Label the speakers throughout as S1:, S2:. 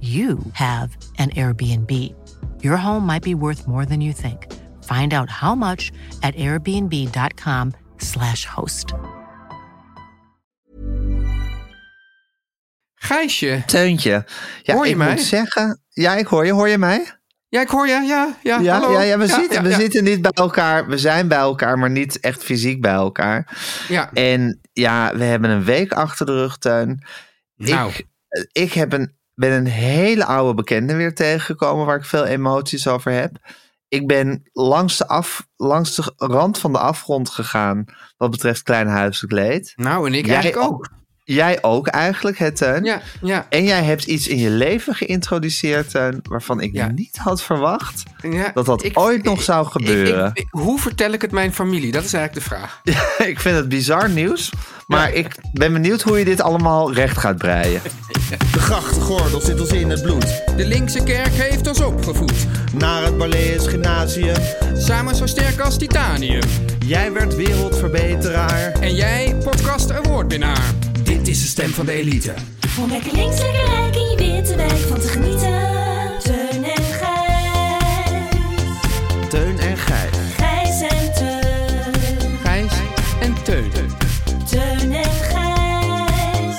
S1: you have an Airbnb. Your home might be worth more than you think. Find out how much at airbnb.com/slash host.
S2: Gijsje.
S3: Teuntje. Ja,
S2: Hoor je
S3: ik
S2: mij?
S3: moet zeggen... Ja, ik hoor je. Hoor je mij?
S2: Ja, ik hoor je. Ja, ja,
S3: Ja,
S2: Ah, hallo.
S3: ja, ja, we, zitten, we
S2: ja.
S3: zitten niet bij elkaar. We zijn bij elkaar, maar niet echt fysiek bij elkaar.
S2: Ja.
S3: En ja, we hebben een week achter de rug, Teun.
S2: Nou.
S3: Ik, ik heb een, ben een hele oude bekende weer tegengekomen waar ik veel emoties over heb. Ik ben langs de, af, langs de rand van de afgrond gegaan wat betreft klein huiselijk leed.
S2: Nou, en ik
S3: Jij
S2: eigenlijk ook.
S3: ook. Jij ook eigenlijk, hè, Teun?
S2: Ja, ja,
S3: En jij hebt iets in je leven geïntroduceerd, Teun, waarvan ik
S2: Ja.
S3: niet had verwacht
S2: ja.
S3: dat dat
S2: Ik-
S3: ooit nog zou
S2: ik-
S3: gebeuren.
S2: ik- ik- hoe vertel ik het mijn familie? Dat is eigenlijk de vraag.
S3: ik vind het bizar nieuws. Maar ik ben benieuwd hoe je dit allemaal recht gaat breien.
S4: De grachtgordel zit ons in het bloed.
S2: De linkse kerk heeft ons opgevoed.
S4: Naar het Balees Gymnasium.
S2: Samen zo sterk als titanium.
S4: Jij werd wereldverbeteraar.
S2: En jij, podcast awardwinnaar. Dit is de stem van de elite.
S5: Om lekker links, lekker rijk in je witte wijk van te genieten. Teun en Gijs.
S4: Teun en Gijs.
S5: Gijs en Teun.
S2: Gijs en Teun.
S5: Teun en Gijs.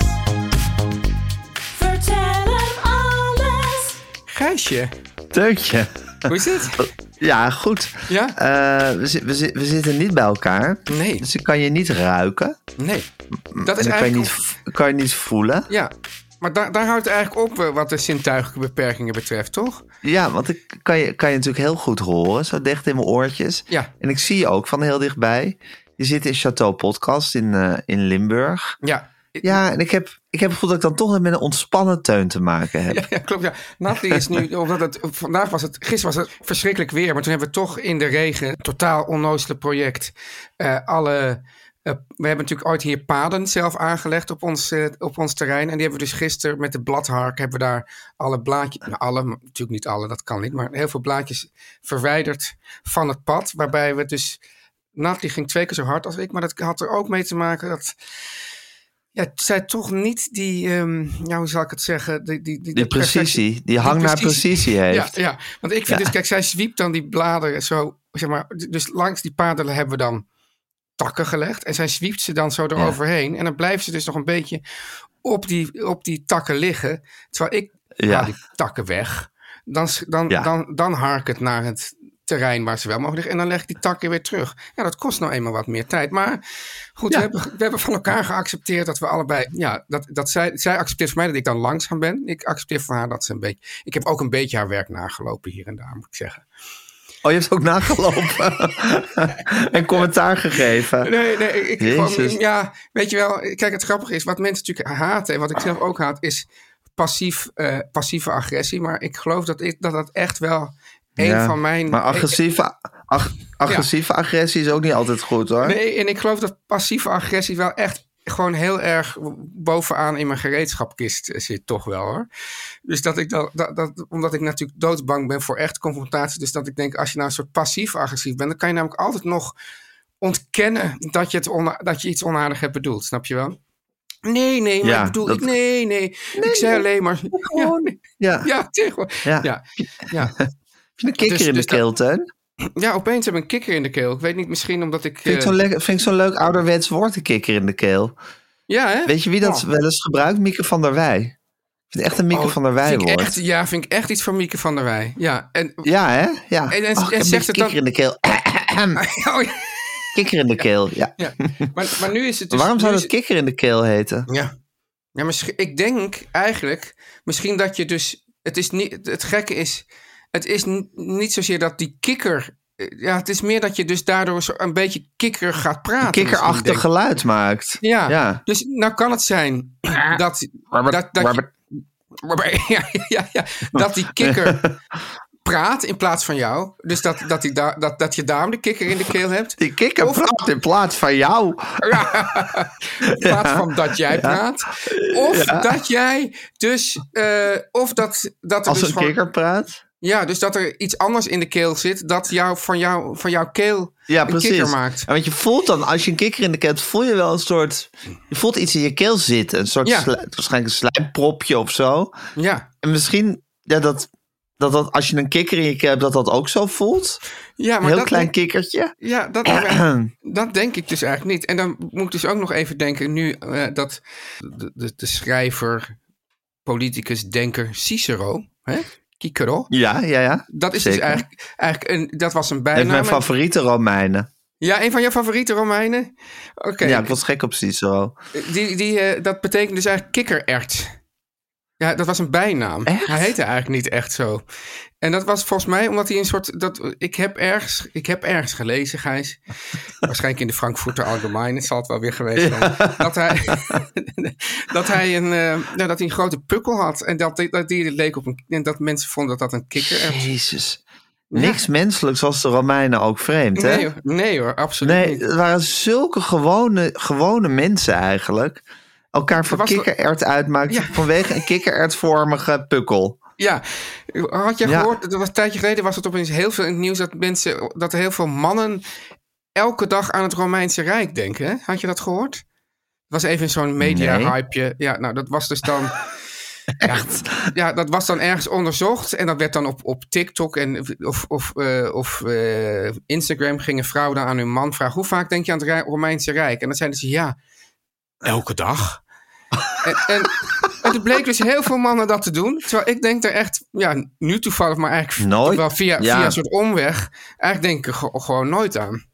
S5: Vertel hem alles.
S2: Gijsje,
S3: Teuntje.
S2: hoe is
S3: Eh,
S2: het?
S3: Ja, goed.
S2: Ja?
S3: Eh, we, zi- we, zi- we zitten niet bij elkaar.
S2: Nee.
S3: Dus ik kan je niet ruiken.
S2: Nee, dat
S3: En
S2: is
S3: eh, ik kan je,
S2: eigenlijk...
S3: niet, v- kan je niet voelen.
S2: Ja, maar daar daar houdt het eigenlijk op eh, wat de zintuigelijke beperkingen betreft, toch?
S3: Ja, want ik kan je, kan je natuurlijk heel goed horen. Zo dicht in mijn oortjes.
S2: Ja.
S3: En ik zie je ook van heel dichtbij. Je zit in Chateau Podcast in, eh, in Limburg.
S2: Ja.
S3: Ja, en ik heb, ik heb het gevoel dat ik dan toch met een ontspannen teun te maken heb.
S2: Ja, klopt. Ja. Nathalie is nu, omdat het, vandaag was het, gisteren was het verschrikkelijk weer, maar toen hebben we toch in de regen, een totaal onnozele project, eh, alle, eh, we hebben natuurlijk ooit hier paden zelf aangelegd op ons, eh, op ons terrein en die hebben we dus gisteren met de bladhark, hebben we daar alle blaadjes, nou alle, maar natuurlijk niet alle, dat kan niet, maar heel veel blaadjes verwijderd van het pad, waarbij we dus, Nathalie ging twee keer zo hard als ik, maar dat had er ook mee te maken dat... Ja, zij toch niet die, ehm ja, hoe zal ik het zeggen? Die, die, die,
S3: Die
S2: de perfectie-
S3: precisie, die hang naar precisie heeft.
S2: ja, ja, want ik vind
S3: Ja.
S2: dus, kijk, zij zwiept dan die bladeren zo, zeg maar, d- dus langs die paden hebben we dan takken gelegd. En zij zwiept ze dan zo eroverheen. En dan blijven ze dus nog een beetje op die, op die takken liggen. Terwijl ik
S3: Ja.
S2: haal die takken weg. Dan, s- dan,
S3: Ja.
S2: dan, dan hark het naar het terrein waar ze wel mogen liggen. En dan leg ik die takken weer terug. Ja, dat kost nou eenmaal wat meer tijd. Maar goed, we, hebben, we hebben van elkaar geaccepteerd dat we allebei... Ja, dat, dat zij, zij accepteert voor mij dat ik dan langzaam ben. Ik accepteer voor haar dat ze een beetje... Ik heb ook een beetje haar werk nagelopen hier en daar, moet ik zeggen.
S3: Oh, je hebt ook nagelopen en commentaar gegeven.
S2: Nee, nee, ik, ik
S3: Jezus.
S2: gewoon, ja, weet je wel, kijk, het grappige is, wat mensen natuurlijk haten en wat ik zelf ook haat, is passief, eh, passieve agressie. Maar ik geloof dat ik, dat, dat echt wel een
S3: Ja,
S2: van mijn...
S3: Maar agressieve, ag- agressieve agressie is ook niet altijd goed hoor.
S2: Nee, en ik geloof dat passieve agressie wel echt gewoon heel erg bovenaan in mijn gereedschapkist eh, zit, toch wel hoor. Dus dat ik dan, dat, dat, omdat ik natuurlijk doodbang ben voor echt confrontatie, dus dat ik denk, als je nou een soort passief agressief bent, dan kan je namelijk altijd nog ontkennen dat je, het ona- dat je iets onaardig hebt bedoeld, snap je wel? Nee, nee, maar
S3: Ja,
S2: ik bedoel,
S3: dat-
S2: ik, nee, nee, ik zei alleen maar... Ja, nee,
S3: Ja.
S2: ja, zeg maar.
S3: Ja.
S2: ja, ja.
S3: Heb je een kikker
S2: Dus-
S3: in de
S2: dus dat-
S3: keel, Teun?
S2: Ja, opeens heb ik een kikker in de keel. Ik weet niet, misschien omdat ik...
S3: Vind ik
S2: eh,
S3: zo'n lekker- vind ik zo'n leuk ouderwets woord, een kikker in de keel.
S2: ja, hè?
S3: Weet je wie dat
S2: Ja.
S3: wel eens gebruikt? Mieke van der Wij. vind echt een Mieke
S2: Oh,
S3: van der Wij
S2: vind ik
S3: woord.
S2: echt- Ja, vind ik echt iets van Mieke van der Wij. Ja, en...
S3: Ja, hè? Ja.
S2: En- en-
S3: Och, ik
S2: en
S3: heb
S2: zegt
S3: een
S2: het dan-
S3: kikker in de keel.
S2: Oh, ja.
S3: kikker in de keel, ja.
S2: Ja. Maar, maar nu is het dus...
S3: Waarom
S2: nu
S3: zou
S2: is
S3: dat kikker in de keel heten?
S2: Ja. Ja, misschien, ik denk eigenlijk, misschien dat je dus, het is niet, het gekke is, het is n- niet zozeer dat die kikker, eh, ja, het is meer dat je dus daardoor zo een beetje kikker gaat praten. misschien, denk
S3: Kikkerachtig
S2: ik.
S3: geluid maakt.
S2: Ja.
S3: Ja.
S2: dus nou kan het zijn dat,
S3: Rabbit,
S2: dat, dat,
S3: rabbit.
S2: waarbij- ja, ja, ja, dat die kikker praat in plaats van jou. Dus dat, dat, die da- dat, dat je daarom de kikker in de keel hebt.
S3: Die kikker
S2: Of-
S3: praat in plaats van jou.
S2: In plaats van dat jij praat. Of dat jij dus. eh, of dat, dat er
S3: Als
S2: dus
S3: een
S2: gewoon-
S3: kikker praat.
S2: Ja, dus dat er iets anders in de keel zit. dat jou, van, jou, van jouw keel
S3: Ja,
S2: een
S3: precies.
S2: kikker maakt.
S3: En want je voelt dan, als je een kikker in de keel hebt, voel je wel een soort... Je voelt iets in je keel zitten. Een soort
S2: Ja.
S3: sli- waarschijnlijk een slijmpropje of zo.
S2: Ja.
S3: En misschien ja, dat, dat, dat als je een kikker in je keel hebt, dat dat ook zo voelt.
S2: Ja,
S3: Een
S2: maar
S3: heel
S2: dat,
S3: klein kikkertje.
S2: Ja, dat, dat denk ik dus eigenlijk niet. En dan moet ik dus ook nog even denken nu eh, dat de, de, de schrijver, politicus, denker Cicero, hè? Cicero,
S3: Ja, ja, ja.
S2: dat is
S3: Zeker.
S2: dus eigenlijk, eigenlijk een, dat was een
S3: Een
S2: bijnaam.
S3: van mijn favoriete Romeinen.
S2: Ja, een van jouw favoriete Romeinen? Oké,
S3: Ja, ik was gek op Cicero.
S2: Die, die, eh, dat betekent dus eigenlijk kikkerert. Ja, dat was een bijnaam.
S3: Echt?
S2: Hij heette eigenlijk niet echt zo. En dat was volgens mij omdat hij een soort... Dat, ik, heb ergens, ik heb ergens gelezen, Gijs. waarschijnlijk in de Frankfurter Allgemeine zal het wel weer geweest zijn. Dat, hij, dat, hij een, eh, nou, dat hij een grote pukkel had. En dat, dat die leek op een... En dat mensen vonden dat dat een kikkerert...
S3: Jezus. Niks menselijks was de Romeinen ook vreemd, hè?
S2: Nee, hoor. nee hoor, absoluut
S3: Nee,
S2: niet.
S3: het waren zulke gewone, gewone mensen eigenlijk. Elkaar voor
S2: was-
S3: kikkerert uitmaakten
S2: Ja.
S3: vanwege een kikkerertvormige pukkel.
S2: Ja, had je
S3: Ja.
S2: gehoord, dat was een tijdje geleden was het opeens heel veel in het nieuws dat mensen, dat er heel veel mannen elke dag aan het Romeinse Rijk denken. hè? Had je dat gehoord? Het was even zo'n media-hypeje. Ja, nou, dat was dus dan. Ja, ja, dat was dan ergens onderzocht. En dat werd dan op, op TikTok en, of, of, eh, of eh, Instagram gingen vrouwen dan aan hun man vragen: hoe vaak denk je aan het Rij- Romeinse Rijk? En dan zeiden ze ja, elke dag. En, en, en het bleek dus heel veel mannen dat te doen. Terwijl ik denk er echt, ja, nu toevallig, maar eigenlijk
S3: Nooit.
S2: toch wel via,
S3: Ja.
S2: via een soort omweg. Eigenlijk denk ik er ge- gewoon nooit aan.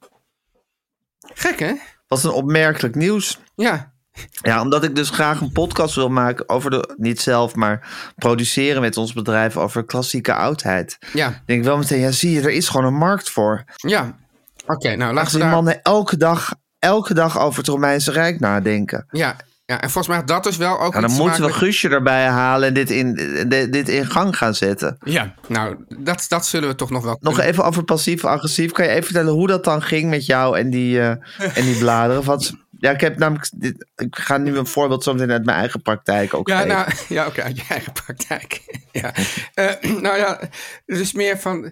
S2: Gek, hè?
S3: Wat een opmerkelijk nieuws.
S2: Ja.
S3: Ja, omdat ik dus graag een podcast wil maken over de, niet zelf, maar produceren met ons bedrijf over klassieke oudheid.
S2: Ja,
S3: Denk ik wel meteen, ja zie je, er is gewoon een markt voor.
S2: ja. Oké, nou laten we
S3: Als die
S2: daar...
S3: mannen elke dag, elke dag over het Romeinse Rijk nadenken.
S2: Ja, ja, en volgens mij had dat dus wel ook
S3: Ja, dan
S2: iets te
S3: moeten we
S2: maken met-
S3: Guusje erbij halen en dit in, de- dit in gang gaan zetten.
S2: Ja, nou, dat, dat zullen we toch nog wel
S3: Nog
S2: kunnen.
S3: even over passief-agressief. Kan je even vertellen hoe dat dan ging met jou en die, eh, en die bladeren? Want, ja, ik heb namelijk. dit- ik ga nu een voorbeeld zometeen uit mijn eigen praktijk ook.
S2: Ja,
S3: geven.
S2: nou, ja, oké, uit je eigen praktijk. ja. Eh, nou ja, dus meer van...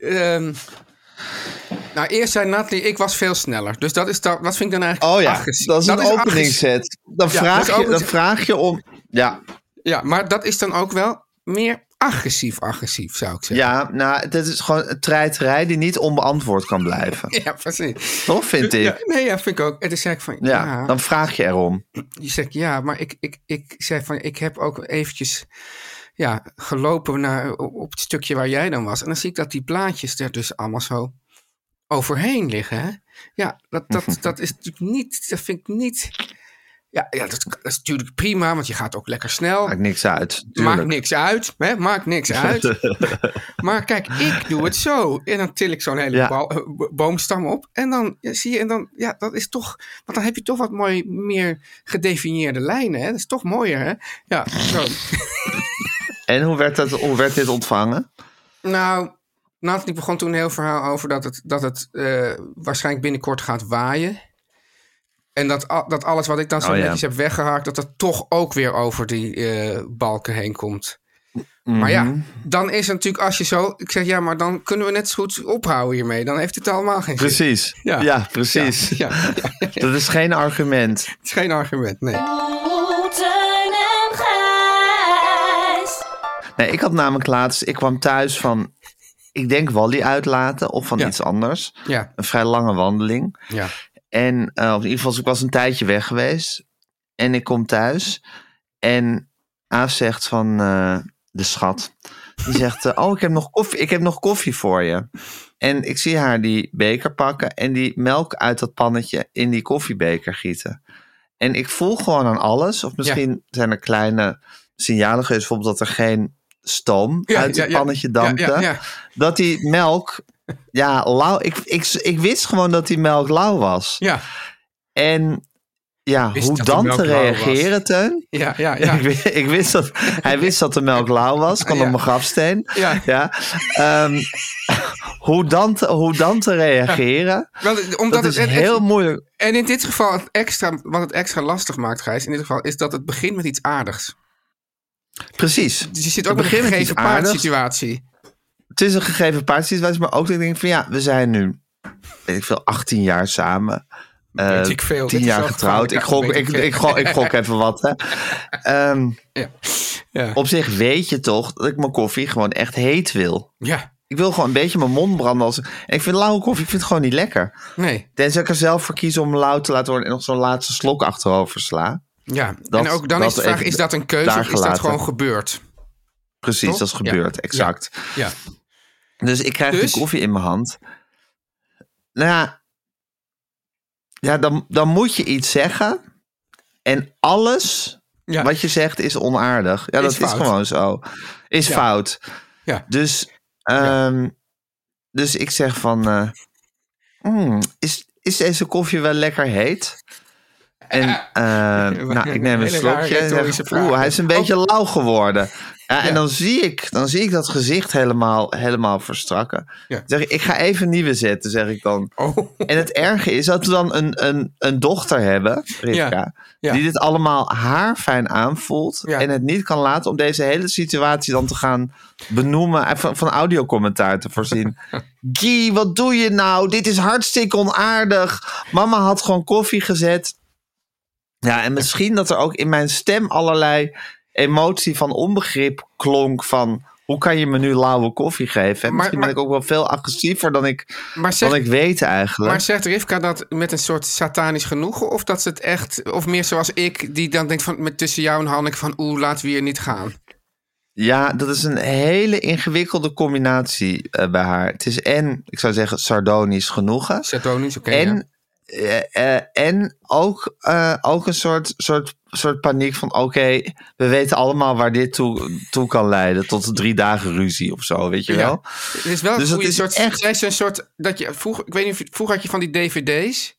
S2: eh, ehm, nou, eerst zei Natalie, ik was veel sneller. Dus dat, is dan, dat vind ik dan eigenlijk
S3: oh ja,
S2: agressie-
S3: dat is een
S2: agressie-
S3: openingsset. Dan,
S2: Ja,
S3: vraag
S2: dat is
S3: je, dan
S2: openings-
S3: vraag je om. Ja,
S2: Ja, maar dat is dan ook wel meer agressief-agressief, zou ik zeggen.
S3: ja nou, dit is gewoon een treiterij die niet onbeantwoord kan blijven.
S2: Ja, precies.
S3: Toch, vind ik?
S2: Ja,
S3: Ja,
S2: nee, ja, vind ik ook. Het is eigenlijk van... ja.
S3: dan vraag je erom.
S2: Je zegt ja, maar ik, ik, ik zei van ik heb ook eventjes ja, gelopen naar, op het stukje waar jij dan was. En dan zie ik dat die plaatjes er dus allemaal zo overheen liggen. Hè? Ja, dat, dat, dat is natuurlijk niet, dat vind ik niet. Ja, ja dat, dat is natuurlijk prima, want je gaat ook lekker snel.
S3: Maakt niks uit.
S2: Maakt
S3: Tuurlijk.
S2: niks uit, hè? maakt niks uit. maar kijk, ik doe het zo. En dan til ik zo'n hele
S3: Ja.
S2: bal- eh, bo- boomstam op. En dan ja, zie je, en dan, ja, dat is toch, want dan heb je toch wat mooi meer gedefinieerde lijnen. Hè? Dat is toch mooier, hè? Ja, zo.
S3: En hoe werd, dat, hoe werd dit ontvangen?
S2: nou, Nathalie begon toen een heel verhaal over dat het, dat het eh, waarschijnlijk binnenkort gaat waaien. En dat, al- dat alles wat ik dan zo
S3: Oh, ja.
S2: netjes heb weggehaakt, dat dat toch ook weer over die eh, balken heen komt. Maar ja,
S3: Mhm.
S2: dan is het natuurlijk als je zo... Ik zeg, ja, maar dan kunnen we net zo goed ophouden hiermee. Dan heeft het allemaal geen zin.
S3: Precies. Ja,
S2: Ja.
S3: precies.
S2: Ja, ja, het
S3: Dat is geen argument.
S2: is geen argument, nee.
S5: Oh, Teun en Gijs.
S3: Nee, ik had namelijk laatst, ik kwam thuis van, ik denk Wally uitlaten of van
S2: Ja.
S3: iets anders.
S2: Ja,
S3: Een vrij lange wandeling.
S2: ja.
S3: En eh, of in ieder geval, ik was een tijdje weg geweest. En ik kom thuis. En Aaf zegt van eh, de schat. Die zegt, eh, oh, ik heb, nog koffie, ik heb nog koffie voor je. En ik zie haar die beker pakken en die melk uit dat pannetje in die koffiebeker gieten. En ik voel gewoon aan alles, of misschien zijn er kleine signalen geweest, bijvoorbeeld dat er geen stoom
S2: Ja,
S3: uit
S2: ja,
S3: het
S2: ja.
S3: pannetje
S2: Ja, ja,
S3: dampte.
S2: ja.
S3: Dat die melk, ja, lauw. Ik, ik, ik wist gewoon dat die melk lauw was.
S2: Ja,
S3: En ja,
S2: Wist
S3: hoe
S2: dat de
S3: dan
S2: melk
S3: te
S2: lauw
S3: reageren, Teun?
S2: ja, ja. ja.
S3: Ik, wist, ik wist dat hij wist dat de melk lauw was, kwam
S2: Ja.
S3: op mijn grafsteen.
S2: Ja.
S3: Ehm, hoe, dan te, hoe dan te reageren?
S2: Wel, omdat
S3: Dat
S2: het,
S3: is
S2: het- het-
S3: heel moeilijk.
S2: En in dit geval, het extra, wat het extra lastig maakt, Gijs, in dit geval, is dat het begint met iets aardigs.
S3: Precies.
S2: Dus je zit
S3: Het
S2: ook met een
S3: begint met
S2: gegeven
S3: iets aardigs.
S2: paardsituatie.
S3: Het is een gegeven paardsinswijs, maar ook dat ik denk van ja, we zijn nu, weet ik veel, 18 jaar samen. Eh,
S2: Weet ik veel. Dit
S3: Tien
S2: is
S3: jaar
S2: wel
S3: getrouwd. Ik gok,
S2: gevaarlijk,
S3: ik,
S2: ja, weet ik
S3: ik, gok, ik gok even wat. Hè. Ehm,
S2: Ja. Ja.
S3: op zich weet je toch dat ik mijn koffie gewoon echt heet wil.
S2: ja,
S3: Ik wil gewoon een beetje mijn mond branden. Als... En ik vind lauwe koffie ik vind het gewoon niet lekker.
S2: nee.
S3: Tenzij ik er zelf voor kies om lauw te laten worden en nog zo'n laatste slok achterover sla.
S2: Ja.
S3: Dat-
S2: en ook dan
S3: dat
S2: is de vraag,
S3: even
S2: is dat een keuze
S3: daar
S2: of is dat
S3: gelaten.
S2: gewoon gebeurd?
S3: Precies,
S2: Toch?
S3: dat is
S2: Ja.
S3: gebeurd, exact.
S2: Ja.
S3: Dus ik krijg
S2: Dus?
S3: die koffie in mijn hand. Nou ja, ja dan, dan moet je iets zeggen. En alles
S2: Ja.
S3: wat je zegt is onaardig. Ja,
S2: Is
S3: dat
S2: fout.
S3: is gewoon zo. Is
S2: Ja.
S3: fout.
S2: Ja.
S3: Dus, ehm, dus ik zeg van... eh, "Mm, is, is deze koffie wel lekker heet? En eh, nou, ik neem
S2: Hele
S3: een
S2: rare
S3: slokje en
S2: retorische
S3: zeg,
S2: vraag. Oh.
S3: oeh, hij is een beetje lauw geworden. Ja, en dan, zie ik, dan zie ik dat gezicht helemaal, helemaal verstrakken.
S2: Ja.
S3: Zeg ik, ik ga even nieuwe zetten, zeg ik dan.
S2: Oh,
S3: En het erge is dat we dan een, een, een dochter hebben, Rivka,
S2: Ja, ja.
S3: die dit allemaal haarfijn aanvoelt
S2: Ja.
S3: en het niet kan laten om deze hele situatie dan te gaan benoemen en van, van audiocommentaar te voorzien. Guy, wat doe je nou? Dit is hartstikke onaardig. Mama had gewoon koffie gezet. Ja, en misschien dat er ook in mijn stem allerlei emotie van onbegrip klonk van... Hoe kan je me nu lauwe koffie geven? En
S2: Maar-
S3: misschien ben
S2: maar-
S3: ik ook wel veel agressiever dan ik,
S2: maar, zegt,
S3: dan ik weet eigenlijk.
S2: maar zegt Rivka dat met een soort satanisch genoegen? Of dat ze het echt, of meer zoals ik, die dan denkt van, met tussen jou en Hanneke van, oeh, laten we hier niet gaan.
S3: Ja, dat is een hele ingewikkelde combinatie eh, bij haar. Het is en, ik zou zeggen, sardonisch genoegen.
S2: Satanisch, oké.
S3: en,
S2: ja.
S3: eh, eh, en ook, eh, ook een soort, soort, soort paniek van... oké, we weten allemaal waar dit toe, toe kan leiden. Tot drie dagen ruzie of zo, weet je wel?
S2: Het is wel
S3: Dus
S2: een
S3: dat
S2: goede
S3: is
S2: soort.
S3: echt-
S2: Zij is een soort dat je vroeger, ik weet niet, of je- vroeger had je van die DVD's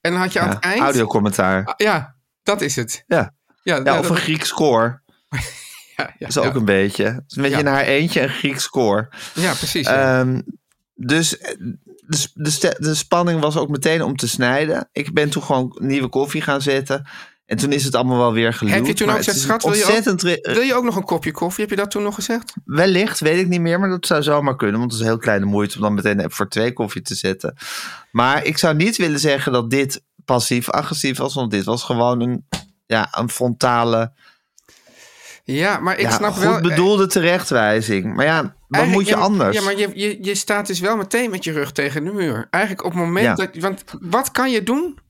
S2: en dan had je aan
S3: Ja,
S2: het eind.
S3: audiocommentaar.
S2: Ah, Ja, dat is het.
S3: Ja.
S2: Ja,
S3: Ja,
S2: dat-
S3: of een Grieks koor.
S2: ja, ja,
S3: Dat is ook
S2: ja.
S3: een beetje. Het is een beetje
S2: Ja.
S3: in haar eentje een Grieks koor.
S2: Ja, precies. ja.
S3: Ehm, dus eh, de, s- de, ste- de spanning was ook meteen om te snijden. Ik ben toen gewoon nieuwe koffie gaan zetten. En toen is het allemaal wel weer gelukt.
S2: Heb je toen ook gezegd, schat, wil je ook-
S3: ontzettend re-
S2: Wil je ook nog een kopje koffie? Heb je dat toen nog gezegd?
S3: Wellicht, weet ik niet meer, maar dat zou zomaar kunnen. Want het is een heel kleine moeite om dan meteen voor twee koffie te zetten. Maar ik zou niet willen zeggen dat dit passief-agressief was. Want dit was gewoon een, ja, een frontale,
S2: Ja, maar ik
S3: ja,
S2: snap
S3: goed
S2: wel. eh,
S3: bedoelde terechtwijzing. Maar ja, wat
S2: Eigenlijk-
S3: moet je
S2: ja, maar-
S3: anders?
S2: Ja, maar je, je, je staat dus wel meteen met je rug tegen de muur. Eigenlijk op het moment
S3: Ja.
S2: dat. Want wat kan je doen?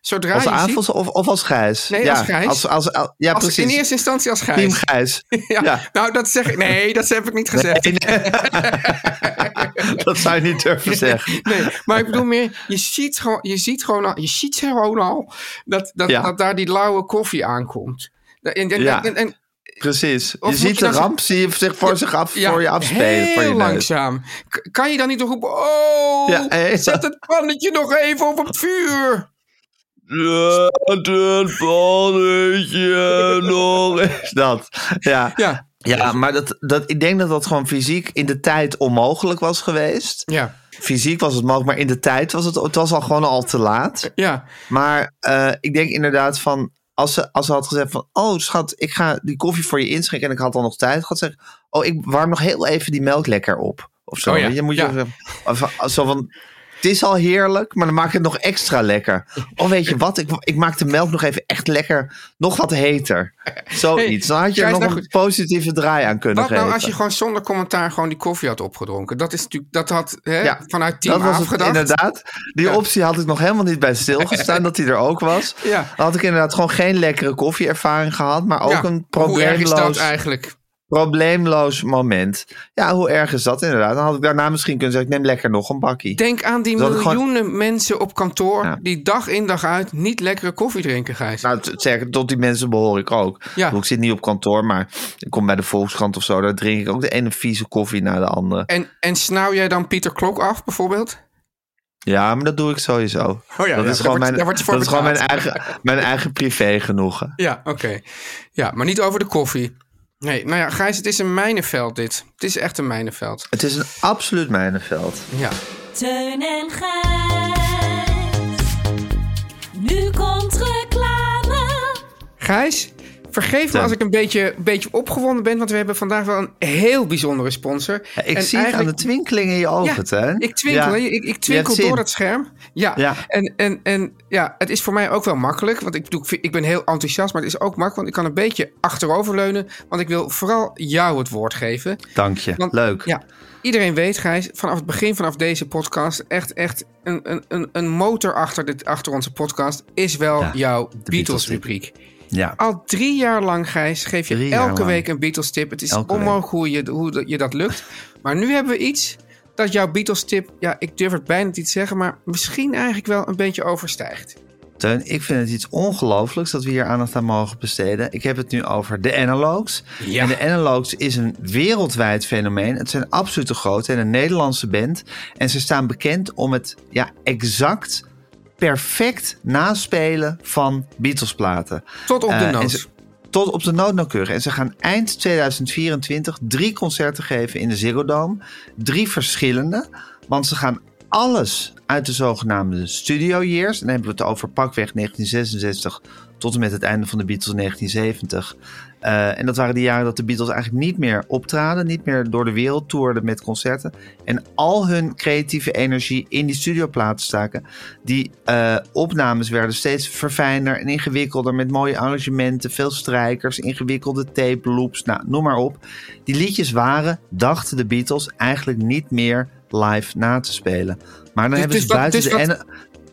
S2: Zodra
S3: als
S2: je ziet-
S3: Avels of, of als Gijs?
S2: Nee,
S3: ja,
S2: als Gijs.
S3: Als, als, als- ja,
S2: als-
S3: precies.
S2: in eerste instantie als Gijs.
S3: Team Gijs.
S2: Ja,
S3: Ja.
S2: Nou, dat zeg ik. Nee, dat heb ik niet gezegd.
S3: Dat zou je niet durven zeggen.
S2: Nee, maar ik bedoel meer, je ziet gewoon, je ziet gewoon al, je ziet gewoon al dat, dat,
S3: Ja.
S2: dat daar die lauwe koffie aankomt. En, en,
S3: Ja.
S2: en, en-
S3: Precies.
S2: Of
S3: je
S2: moet
S3: ziet
S2: je
S3: de
S2: dan zo-
S3: ramp zie je zich voor, zich af,
S2: ja,
S3: voor je afspelen.
S2: Heel
S3: voor je neus.
S2: langzaam. K- kan je dan niet roepen, oh,
S3: Ja, eh, heel-
S2: zet het pannetje nog even op het vuur.
S3: Laat het pannetje nog eens. Dat. Ja,
S2: Ja,
S3: ja maar dat, dat, ik denk dat dat gewoon fysiek in de tijd onmogelijk was geweest.
S2: ja,
S3: Fysiek was het mogelijk, maar in de tijd was het, het was al gewoon al te laat.
S2: ja.
S3: Maar eh, ik denk inderdaad van, als ze, als ze had gezegd van, oh schat, ik ga die koffie voor je inschenken en ik had al nog tijd, had ze zeggen, oh ik warm nog heel even die melk lekker op. Of zo.
S2: Oh ja,
S3: Weet je, moet je
S2: ja.
S3: even- of, of zo van, Het is al heerlijk, maar dan maak ik het nog extra lekker. Of weet je wat, ik, ik maak de melk nog even echt lekker, nog wat heter. Zoiets.
S2: Hey,
S3: Dan had je er
S2: Gijs,
S3: nog
S2: nou
S3: een
S2: goed.
S3: positieve draai aan kunnen
S2: Wat
S3: geven.
S2: nou als je gewoon zonder commentaar gewoon die koffie had opgedronken? Dat is natuurlijk, dat had hè,
S3: Ja,
S2: vanuit team
S3: dat was het
S2: afgedacht.
S3: inderdaad. Die
S2: Ja.
S3: optie had ik nog helemaal niet bij stilgestaan dat die er ook was.
S2: Ja.
S3: Dan had ik inderdaad gewoon geen lekkere koffieervaring gehad, maar ook
S2: Ja,
S3: een
S2: Hoe erg is dat
S3: probleemloos,
S2: eigenlijk?
S3: probleemloos moment. Ja, hoe erg is dat inderdaad? Dan had ik daarna misschien kunnen zeggen, ik neem lekker nog een bakkie.
S2: Denk aan die
S3: Dat het gewoon-
S2: miljoenen mensen op kantoor
S3: Ja.
S2: die dag in dag uit niet lekkere koffie drinken, Gijs.
S3: Nou, t- zeg, tot die mensen behoor ik ook.
S2: Ja.
S3: Ik bedoel, Ik zit niet op kantoor, maar ik kom bij de Volkskrant of zo. Daar drink ik ook de ene vieze koffie na de andere.
S2: En, en snauw jij dan Pieter Klok af, bijvoorbeeld?
S3: Ja, maar dat doe ik sowieso.
S2: Oh ja, ja,
S3: dat
S2: daar
S3: is gewoon
S2: wordt-
S3: mijn,
S2: daar wordt je voor
S3: dat is gewoon mijn
S2: betaald.
S3: eigen, mijn eigen privé genoegen.
S2: Ja, oké. Ja, maar niet over de koffie. Nee, nou ja, Gijs, het is een mijnenveld dit. Het is echt een mijnenveld.
S3: Het is een absoluut mijnenveld.
S2: Ja.
S5: Teun en Gijs. Nu komt reclame.
S2: Gijs, vergeef me
S3: Ja.
S2: als ik een beetje, een beetje opgewonden ben, want we hebben vandaag wel een heel bijzondere sponsor.
S3: Ja, Ik
S2: En
S3: zie het aan de
S2: eigenlijk-
S3: twinkeling in je ogen,
S2: ja,
S3: Teun.
S2: Ik twinkel,
S3: Ja.
S2: hè. ik,
S3: Je
S2: ik
S3: hebt
S2: twinkel
S3: zin.
S2: door dat scherm. Ja,
S3: Ja.
S2: En, en, en ja, het is voor mij ook wel makkelijk, want ik, bedoel, ik vind- ik ben heel enthousiast, maar het is ook makkelijk, want ik kan een beetje achteroverleunen, want ik wil vooral jou het woord geven.
S3: Dank je,
S2: Want,
S3: leuk.
S2: Ja, iedereen weet, Gijs, vanaf het begin vanaf deze podcast, echt, echt een, een- een, een motor achter, dit, achter onze podcast is wel
S3: Ja,
S2: jouw
S3: Beatles-tip.
S2: Beatles-rubriek.
S3: Ja.
S2: Al drie jaar lang, Gijs, geef je
S3: Drie jaar
S2: elke
S3: lang.
S2: week een Beatles-tip. Het is
S3: Elke
S2: onmogelijk hoe je, hoe dat- je dat lukt. Maar nu hebben we iets dat jouw Beatles-tip, ja, ik durf het bijna niet te zeggen, maar misschien eigenlijk wel een beetje overstijgt.
S3: Teun, ik vind het iets ongelooflijks dat we hier aandacht aan mogen besteden. Ik heb het nu over de Analogues.
S2: Ja.
S3: En de Analogues is een wereldwijd fenomeen. Het zijn absoluut de grote en een Nederlandse band. En ze staan bekend om het ja, exact perfect naspelen van Beatles-platen.
S2: Tot op de
S3: Eh, en
S2: noot.
S3: ze- tot op de nood nauwkeurig. En ze gaan eind 2024 drie concerten geven in de Ziggo Dome. Drie verschillende. Want ze gaan alles uit de zogenaamde studio years. En dan hebben we het over pakweg 1966 tot en met het einde van de Beatles in 1970. Eh, en dat waren de jaren dat de Beatles eigenlijk niet meer optraden. Niet meer door de wereld toerden met concerten. En al hun creatieve energie in die studioplaten staken. Die eh, opnames werden steeds verfijnder en ingewikkelder. Met mooie arrangementen, veel strijkers, ingewikkelde tape loops. Nou, noem maar op. Die liedjes waren, dachten de Beatles, eigenlijk niet meer live na te spelen. Maar dan
S2: Dus-
S3: hebben
S2: dus
S3: ze
S2: wat-
S3: buiten
S2: dus
S3: de...
S2: wat-
S3: ene-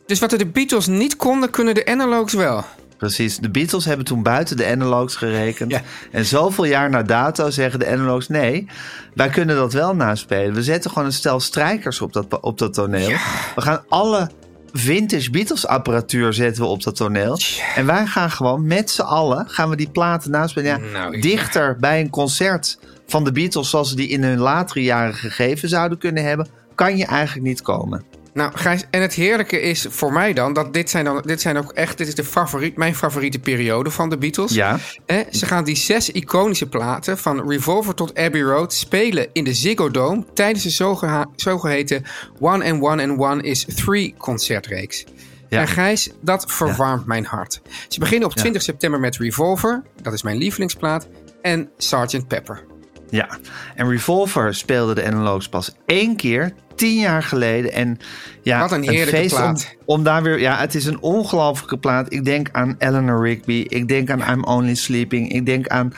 S2: Dus wat de Beatles niet konden, kunnen de analogs wel.
S3: Precies. De Beatles hebben toen buiten de analogs gerekend.
S2: Ja.
S3: En zoveel jaar na dato zeggen de analogs... nee, wij kunnen dat wel naspelen. We zetten gewoon een stel strijkers op dat, op dat toneel. We gaan alle vintage Beatles-apparatuur zetten we op dat toneel. En wij gaan gewoon met z'n allen... gaan we die platen naspelen. Ja,
S2: Nou, ik-
S3: dichter bij een concert van de Beatles... zoals ze die in hun latere jaren gegeven zouden kunnen hebben... kan je eigenlijk niet komen.
S2: Nou, Gijs, en het heerlijke is voor mij dan dat dit zijn, dan, dit zijn ook echt, dit is de favoriet, mijn favoriete periode van de Beatles.
S3: Ja.
S2: Hè, ze gaan die zes iconische platen van Revolver tot Abbey Road spelen in de Ziggo Dome tijdens de zogeha- zogeheten One and One and One is Three concertreeks.
S3: Ja.
S2: En Gijs, dat verwarmt mijn hart. Ze beginnen op 20 september met Revolver, dat is mijn lievelingsplaat, en Sgt. Pepper.
S3: Ja, en Revolver speelde de analogs pas één keer, tien jaar geleden. En ja,
S2: Wat een heerlijke
S3: feest om-
S2: plaat.
S3: Om, daar weer, ja, het is een ongelofelijke plaat. Ik denk aan Eleanor Rigby. Ik denk aan I'm Only Sleeping. Ik denk aan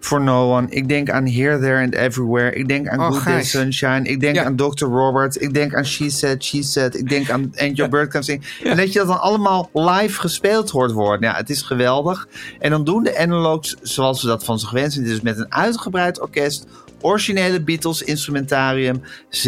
S3: For No One. Ik denk aan Here, There and Everywhere. Ik denk aan
S2: Oh,
S3: Good Day
S2: Gijs.
S3: Sunshine. Ik denk
S2: Ja.
S3: aan Dr. Robert. Ik denk aan She Said, She Said. Ik denk aan And Your Bird Can Sing. En dat je dat dan allemaal live gespeeld hoort worden. Ja, het is geweldig. En dan doen de analogs zoals ze dat van zich wensen. Dus met een uitgebreid orkest. Originele Beatles instrumentarium.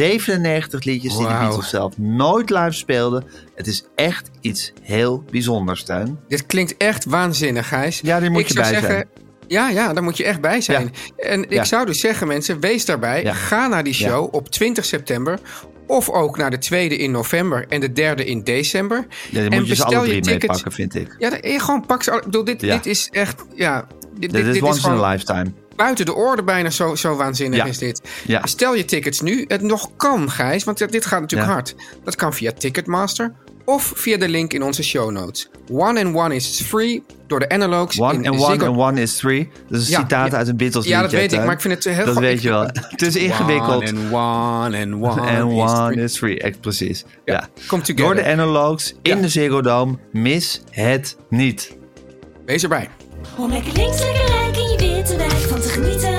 S3: 97 liedjes die de
S2: Wauw.
S3: Beatles zelf nooit live speelden. Het is echt iets heel bijzonders, Tuin.
S2: Dit klinkt echt waanzinnig, Gijs.
S3: Ja, daar moet
S2: ik
S3: je
S2: zou
S3: bij
S2: zeggen,
S3: zijn.
S2: Ja, ja, daar moet je echt bij zijn. En ik
S3: Ja.
S2: zou dus zeggen, mensen, wees daarbij.
S3: Ja.
S2: Ga naar die
S3: Ja.
S2: show op 20 september. Of ook naar de tweede in november en de derde in december.
S3: Ja, dan
S2: en
S3: moet je ze alle
S2: bestel
S3: drie
S2: tickets.
S3: meepakken, vind ik.
S2: Ja, dan- eh, gewoon pak ze. al- Ik bedoel, dit,
S3: Ja.
S2: dit is echt. Ja, dit,
S3: Dit is once in
S2: gewoon
S3: a lifetime.
S2: buiten de orde bijna zo, zo waanzinnig
S3: Ja.
S2: is dit.
S3: Ja.
S2: Bestel je tickets nu. Het nog kan, Gijs, want dit gaat natuurlijk
S3: Ja.
S2: hard. Dat kan via Ticketmaster of via de link in onze show notes. One and One is free door de Analogues
S3: One
S2: in
S3: and
S2: Ziggo-
S3: one and one is three. Dat is een
S2: Ja,
S3: citaat
S2: ja.
S3: uit een Beatles
S2: Ja, dat
S3: liedje,
S2: weet ik,
S3: Teun.
S2: maar ik vind het heel
S3: Dat
S2: gek-
S3: weet je wel. Het is ingewikkeld.
S2: One and One and One,
S3: En
S2: is
S3: one
S2: free.
S3: is free, echt precies. Ja.
S2: Ja, come together.
S3: Door de analogs in
S2: Ja.
S3: de Ziggo Dome. Mis het niet.
S2: Wees erbij.
S5: Om lekker links, lekker rijk in je witte wijk van te genieten.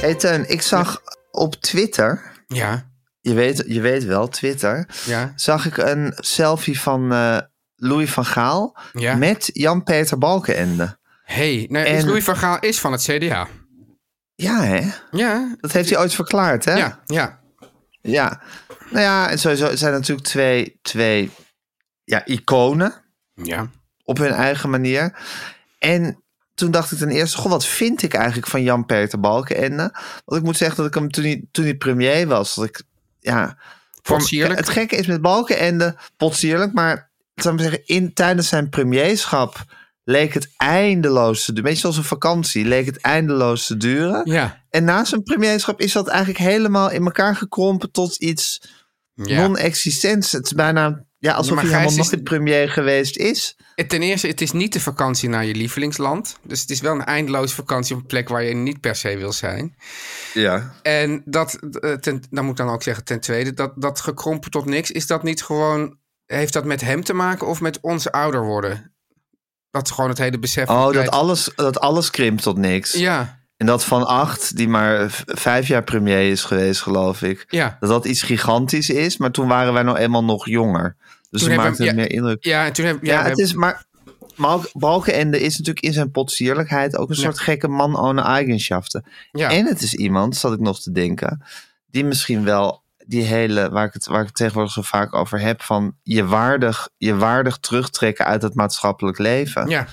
S3: Hey Teun, ik zag op Twitter,
S2: Ja,
S3: je weet, je weet wel, Twitter,
S2: ja.
S3: zag ik een selfie van eh, Louis van Gaal
S2: Ja.
S3: met Jan-Peter Balkenende.
S2: Hey, nou,
S3: En-
S2: Louis van Gaal is van het CDA.
S3: Ja, hè?
S2: Ja,
S3: Dat heeft hij ooit verklaard, hè?
S2: ja, ja.
S3: Ja. Nou ja, en sowieso zijn er natuurlijk twee, twee ja, iconen
S2: Ja,
S3: op hun eigen manier. En toen dacht ik ten eerste, goh, wat vind ik eigenlijk van Jan-Peter Balkenende? Want ik moet zeggen dat ik hem toen hij, toen hij premier was, dat ik, ja...
S2: Potsierlijk.
S3: Het gekke is met Balkenende, potsierlijk, maar zou ik maar zeggen, in, tijdens zijn premierschap leek het eindeloos te duren. Beetje zoals een vakantie, leek het eindeloos te duren.
S2: ja.
S3: En na zijn premierschap is dat eigenlijk helemaal in elkaar gekrompen tot iets
S2: ja.
S3: non-existents. Het is bijna ja, alsof
S2: maar
S3: hij
S2: Gijs
S3: helemaal
S2: is-
S3: nooit premier geweest is.
S2: Eh, Ten eerste, het is niet de vakantie naar je lievelingsland. Dus het is wel een eindeloze vakantie op een plek waar je niet per se wil zijn.
S3: Ja.
S2: En dat, eh, ten, dan moet ik dan ook zeggen, ten tweede, dat, dat gekrompen tot niks, is dat niet gewoon, heeft dat met hem te maken of met ons ouder worden? Dat is gewoon het hele besef. van
S3: Oh, dat
S2: tijd.
S3: alles, dat alles krimpt tot niks.
S2: Ja,
S3: En dat Van Acht, die maar v- vijf jaar premier is geweest, geloof ik.
S2: ja.
S3: Dat dat iets gigantisch is, maar toen waren wij nou eenmaal nog jonger. Dus toen,
S2: hebben
S3: maakte
S2: we-
S3: het
S2: ja,
S3: meer indruk.
S2: Ja, en toen heb, ja,
S3: Ja,
S2: we
S3: het
S2: hebben-
S3: is maar... Mal- Balkenende is natuurlijk in zijn potsierlijkheid ook een soort gekke man ohne eigenschaften.
S2: Ja.
S3: En het is iemand, zat ik nog te denken, die misschien wel die hele, waar ik het, waar ik het tegenwoordig zo vaak over heb, van je waardig, je waardig terugtrekken uit het maatschappelijk leven.
S2: ja,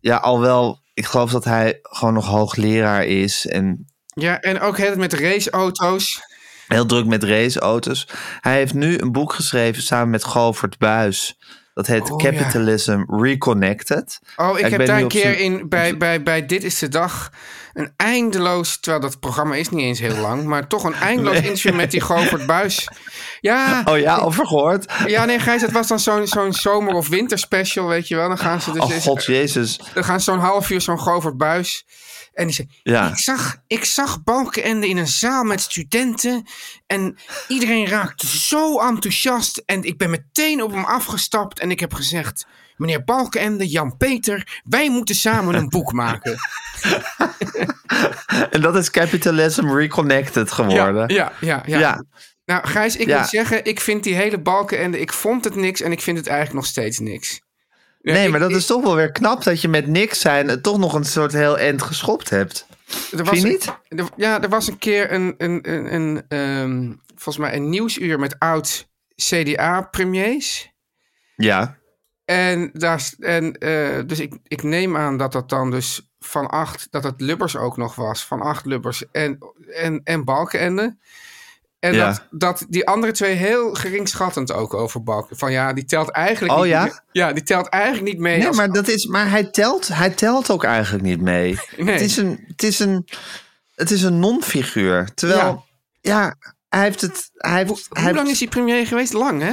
S3: Ja, al wel, ik geloof dat hij gewoon nog hoogleraar is en
S2: ja, en ook het met raceauto's.
S3: heel druk met raceauto's. Hij heeft nu een boek geschreven samen met Govert Buis. Dat heet
S2: Oh, ja.
S3: Capitalism Reconnected.
S2: Oh, ik,
S3: Ik
S2: heb
S3: ben
S2: daar
S3: nu
S2: een
S3: op
S2: keer
S3: zoek-
S2: in, bij, bij, bij Dit is de Dag een eindeloos, terwijl dat programma is niet eens heel lang, maar toch een eindeloos interview met die Govert Buis. Ja,
S3: Oh ja, over gehoord.
S2: ja, dus nee Gijs, dat was dan zo'n zo'n zomer- of winterspecial, weet je wel. Dan gaan ze dus
S3: Oh
S2: eens-
S3: god, jezus.
S2: dan gaan ze zo'n half uur zo'n Govert Buis. En die zei,
S3: Ja.
S2: ik, zag, ik zag Balkenende in een zaal met studenten en iedereen raakte zo enthousiast. En ik ben meteen op hem afgestapt en ik heb gezegd, meneer Balkenende, Jan-Peter, wij moeten samen een boek maken.
S3: En dat is Capitalism Reconnected geworden.
S2: Ja, ja, ja.
S3: Ja.
S2: Nou, Gijs, ik
S3: Ja.
S2: moet zeggen, ik vind die hele balkenende, ik vond het niks en ik vind het eigenlijk nog steeds niks.
S3: Nee,
S2: ik-
S3: maar dat
S2: ik-
S3: is toch wel weer knap dat je met niks zijn het toch nog een soort heel end geschopt hebt.
S2: Er
S3: Vind je
S2: een-
S3: niet?
S2: er- ja, er was een keer een, een, een, een ehm, volgens mij een nieuwsuur met oud CDA-premiers.
S3: Ja.
S2: En, daar, s- en eh, dus ik, ik neem aan dat dat dan dus van acht, dat het Lubbers ook nog was. Van acht Lubbers en, en, en Balkenende. En
S3: Ja.
S2: dat, dat die andere twee heel geringschattend ook over Balken. Van ja, die telt eigenlijk
S3: Oh,
S2: niet
S3: ja?
S2: mee. Ja, die telt eigenlijk niet mee.
S3: Nee,
S2: als-
S3: maar, dat is, maar hij, telt, hij telt ook eigenlijk niet mee.
S2: Nee.
S3: Het is een, het is een, het is een non-figuur. Terwijl, ja. hij heeft het... Hij heeft,
S2: Hoe,
S3: hij
S2: hoe
S3: heeft-
S2: lang is die premier geweest? Lang, hè?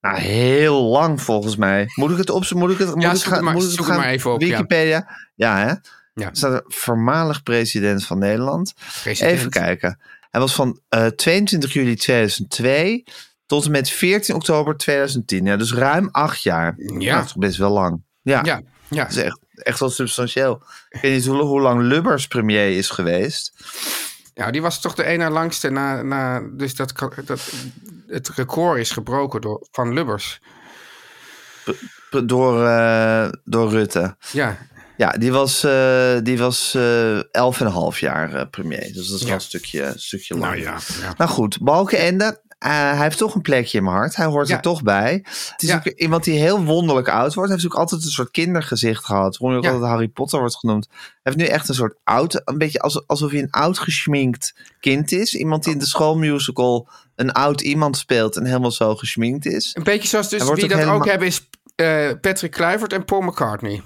S3: Nou, heel lang volgens mij. Moet ik het op? Moet ik het, moet ik
S2: zoek het
S3: gaan-
S2: maar-
S3: moet ik het
S2: zoek het
S3: gaan-
S2: maar even op, ja.
S3: Wikipedia. Ja, hè?
S2: Ja.
S3: Staat er voormalig president van Nederland.
S2: President.
S3: Even kijken. Hij was van eh, 22 juli 2002 tot en met 14 oktober 2010. Ja, dus ruim acht jaar.
S2: Ja.
S3: Dat is toch best wel lang. Ja,
S2: Ja, ja.
S3: dat is echt, echt wel substantieel. Ik weet niet hoe, hoe lang Lubbers premier is geweest.
S2: ja, die was toch de ene langste. Na, na, dus dat, ka- dat, het record is gebroken door, van Lubbers.
S3: Door, eh, door Rutte.
S2: Ja,
S3: Ja, die was, eh die was eh, elf en een half jaar eh, premier. Dus dat is wel
S2: Ja.
S3: een stukje, stukje langer.
S2: Nou ja, ja.
S3: Nou goed, Balkenende. Eh, hij heeft toch een plekje in mijn hart. Hij hoort
S2: Ja.
S3: er toch bij. Het is
S2: Ja.
S3: ook iemand die heel wonderlijk oud wordt. Hij heeft ook altijd een soort kindergezicht gehad. Waarom hij ook
S2: Ja.
S3: altijd Harry Potter wordt genoemd. Hij heeft nu echt een soort oud... Een beetje alsof, alsof hij een oud geschminkt kind is. Iemand die in de schoolmusical een oud iemand speelt... en helemaal zo geschminkt is.
S2: Een beetje zoals dus
S3: Hij wordt
S2: wie dat
S3: ook
S2: ook
S3: helemaal-
S2: hebben is eh, Patrick Kluivert en Paul McCartney.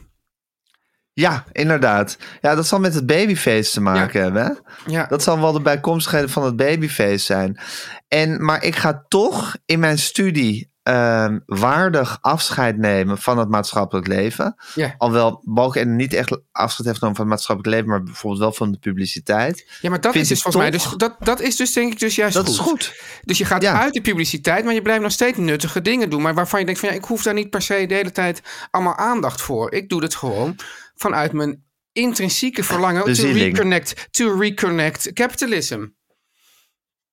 S3: Ja, inderdaad. Ja, dat zal met het babyface te maken
S2: Ja.
S3: hebben. hè?
S2: Ja.
S3: Dat zal wel de bijkomstigheden van het babyface zijn. En, maar ik ga toch in mijn studie ehm, waardig afscheid nemen van het maatschappelijk leven.
S2: Ja.
S3: Alhoewel Balken niet echt afscheid heeft genomen van het maatschappelijk leven, maar bijvoorbeeld wel van de publiciteit.
S2: ja, maar dat
S3: vind
S2: is dus
S3: ik
S2: volgens mij.
S3: toch-
S2: Dus, dat, dat is dus denk ik dus juist
S3: Dat
S2: goed.
S3: is goed.
S2: Dus je gaat
S3: Ja.
S2: uit de publiciteit, maar je blijft nog steeds nuttige dingen doen. Maar waarvan je denkt van ja, ik hoef daar niet per se de hele tijd allemaal aandacht voor. Ik doe dat gewoon vanuit mijn intrinsieke verlangen to
S3: Bezieling.
S2: reconnect, to reconnect capitalism.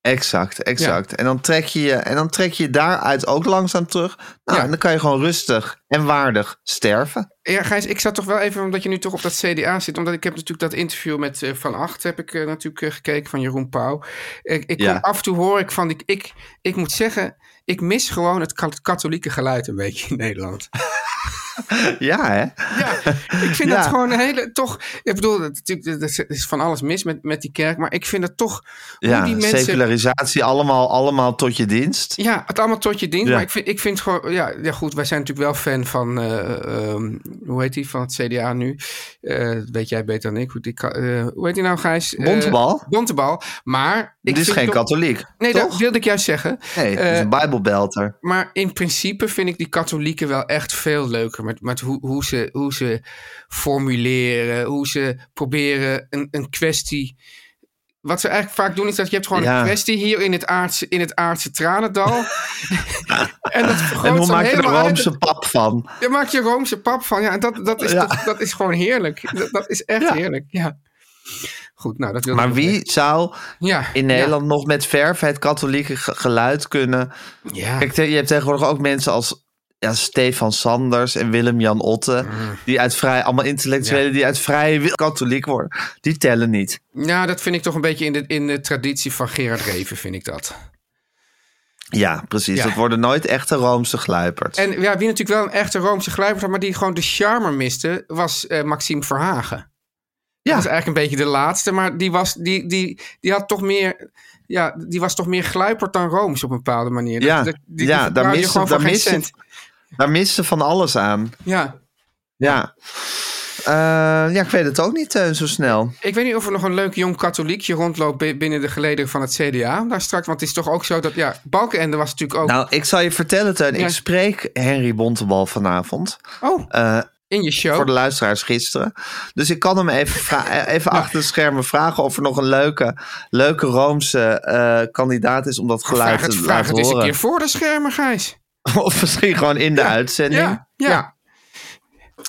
S3: Exact, exact. En, dan trek je je, en dan trek je je daaruit ook langzaam terug. Nou,
S2: Ja.
S3: En dan kan je gewoon rustig en waardig sterven.
S2: Ja, Gijs, ik zat toch wel even, omdat je nu toch op dat CDA zit. Omdat ik heb natuurlijk dat interview met eh, Van Acht, heb ik eh, natuurlijk eh, gekeken van Jeroen Pauw. Ik, ik
S3: Ja.
S2: kom, af en toe hoor ik van, die, ik, ik moet zeggen, ik mis gewoon het ka- katholieke geluid een beetje in Nederland.
S3: Ja, hè?
S2: Ja, ik vind
S3: Ja.
S2: dat gewoon een hele, toch, ik bedoel, het- natuurlijk, er is- er is van alles mis met, met die kerk. Maar ik vind dat toch,
S3: Ja,
S2: hoe die mensen
S3: secularisatie allemaal, allemaal tot je dienst.
S2: Ja, het allemaal tot je dienst.
S3: Ja.
S2: Maar ik vind, ik vind gewoon, ja, ja, goed, wij zijn natuurlijk wel fan van, eh, ehm, hoe heet die, van het CDA nu. Eh, dat weet jij beter dan ik. Hoe, die, ka- eh, hoe heet die nou, Gijs? Eh,
S3: Bontebal?
S2: Bontebal. Maar.
S3: Dit is
S2: vind
S3: geen
S2: toch-
S3: katholiek.
S2: Nee,
S3: toch?
S2: dat wilde ik juist zeggen.
S3: Nee, het is
S2: Eh,
S3: een bijbelbelter.
S2: maar in principe vind ik die katholieken wel echt veel leuker. Met, met hoe, hoe, ze, hoe ze formuleren, hoe ze proberen een, een kwestie. Wat ze eigenlijk vaak doen is dat je hebt gewoon
S3: Ja.
S2: een kwestie hier in het aardse, in het aardse tranendal. en dat vergroot
S3: En hoe
S2: dan
S3: maak je er
S2: helemaal uit.
S3: roomse pap van?
S2: Daar maak je roomse pap van. Ja, en dat, dat, is,
S3: Ja.
S2: toch- dat is gewoon heerlijk. Dat, dat is echt
S3: Ja.
S2: heerlijk, ja. Goed, nou dat wil
S3: Maar wie zou
S2: ja,
S3: in
S2: ja,
S3: Nederland nog met verf het katholieke ge- geluid kunnen?
S2: Ja,
S3: Kijk, te- je hebt tegenwoordig ook mensen als ja, Stefan Sanders en Willem-Jan Otte. Die uit vrij, allemaal intellectuelen die uit vrije wil katholiek worden. Die tellen niet.
S2: ja, dat vind ik toch een beetje in de, in de traditie van Gerard Reven, vind ik dat.
S3: Ja, precies.
S2: Ja.
S3: Dat worden nooit echte roomse gluiperds.
S2: En ja, wie natuurlijk wel een echte Roomse gluiperd had, maar die gewoon de charme miste, was eh, Maxime Verhagen. Dat
S3: ja,
S2: was eigenlijk een beetje de laatste, maar die, was, die, die, die had toch meer. Ja, die was toch meer gluiperd dan Rooms op een bepaalde manier.
S3: Ja,
S2: dat, die, die
S3: ja, daar
S2: verklaarde je
S3: mist-
S2: gewoon
S3: daar
S2: voor geen
S3: mist je-
S2: cent.
S3: daar missen van alles aan.
S2: Ja.
S3: Ja. Eh, ja, ik weet het ook niet eh, zo snel.
S2: Ik weet niet of er nog een leuk jong katholiekje rondloopt bi- binnen de gelederen van het CDA. Daar straks, want het is toch ook zo dat. Ja, Balkenende was natuurlijk ook.
S3: Nou, ik zal je vertellen, Teun.
S2: Ja.
S3: Ik spreek Henry Bontebal vanavond.
S2: oh,
S3: eh,
S2: in je show.
S3: Voor de luisteraars gisteren. Dus ik kan hem even, vra- eh, even achter de schermen vragen of er nog een leuke, leuke Roomse eh, kandidaat is om dat geluid
S2: vraag het,
S3: te
S2: vraag
S3: laten
S2: het eens een
S3: horen.
S2: keer voor de schermen, Gijs.
S3: Of misschien gewoon in de uitzending.
S2: Ja, ja.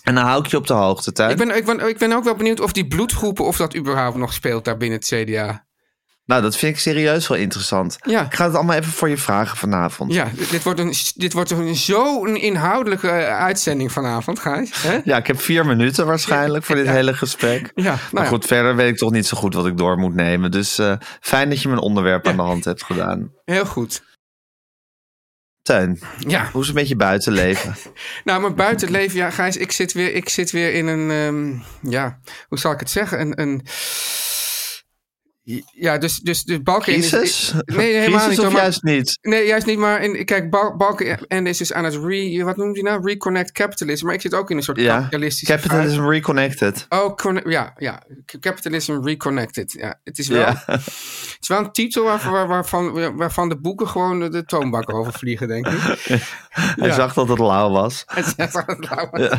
S3: En dan hou ik je op de hoogte, Tuin.
S2: Ik, ben, ik, ben, ik ben ook wel benieuwd of die bloedgroepen, of dat überhaupt nog speelt daar binnen het CDA.
S3: Nou, dat vind ik serieus wel interessant.
S2: Ja.
S3: Ik ga het allemaal even voor je vragen vanavond.
S2: Ja, dit, dit wordt, een, dit wordt een, zo'n inhoudelijke eh, uitzending vanavond, Gijs. hè?
S3: Ja, ik heb vier minuten waarschijnlijk voor dit hele gesprek.
S2: Ja, nou
S3: maar
S2: ja.
S3: goed, verder weet ik toch niet zo goed wat ik door moet nemen. Dus eh, fijn dat je mijn onderwerp aan de hand hebt gedaan.
S2: Heel goed.
S3: Tuin,
S2: Ja,
S3: hoe is het met je buitenleven?
S2: nou, mijn buitenleven, ja, Gijs, ik zit weer, ik zit weer in een, ehm, ja, hoe zal ik het zeggen? Een, een ja, dus, dus, dus Balken
S3: Crisis?
S2: Nee, helemaal
S3: Crisis
S2: niet.
S3: of
S2: hoor, maar-
S3: juist niet?
S2: Nee, juist niet. Maar in, kijk, Bal- Balken en is dus aan het re, wat noemt hij nou? Reconnect capitalism. Maar ik zit ook in een soort
S3: Ja,
S2: kapitalistische. fase.
S3: Capitalism Reconnected.
S2: Oh, conne- ja, ja. Capitalism Reconnected. Ja, het, is wel,
S3: Ja.
S2: het is wel een titel waar, waar- waarvan, waarvan de boeken gewoon de, de toonbank over vliegen, denk ik.
S3: Hij zag dat het lauw was.
S2: Het is echt wel het lauwe.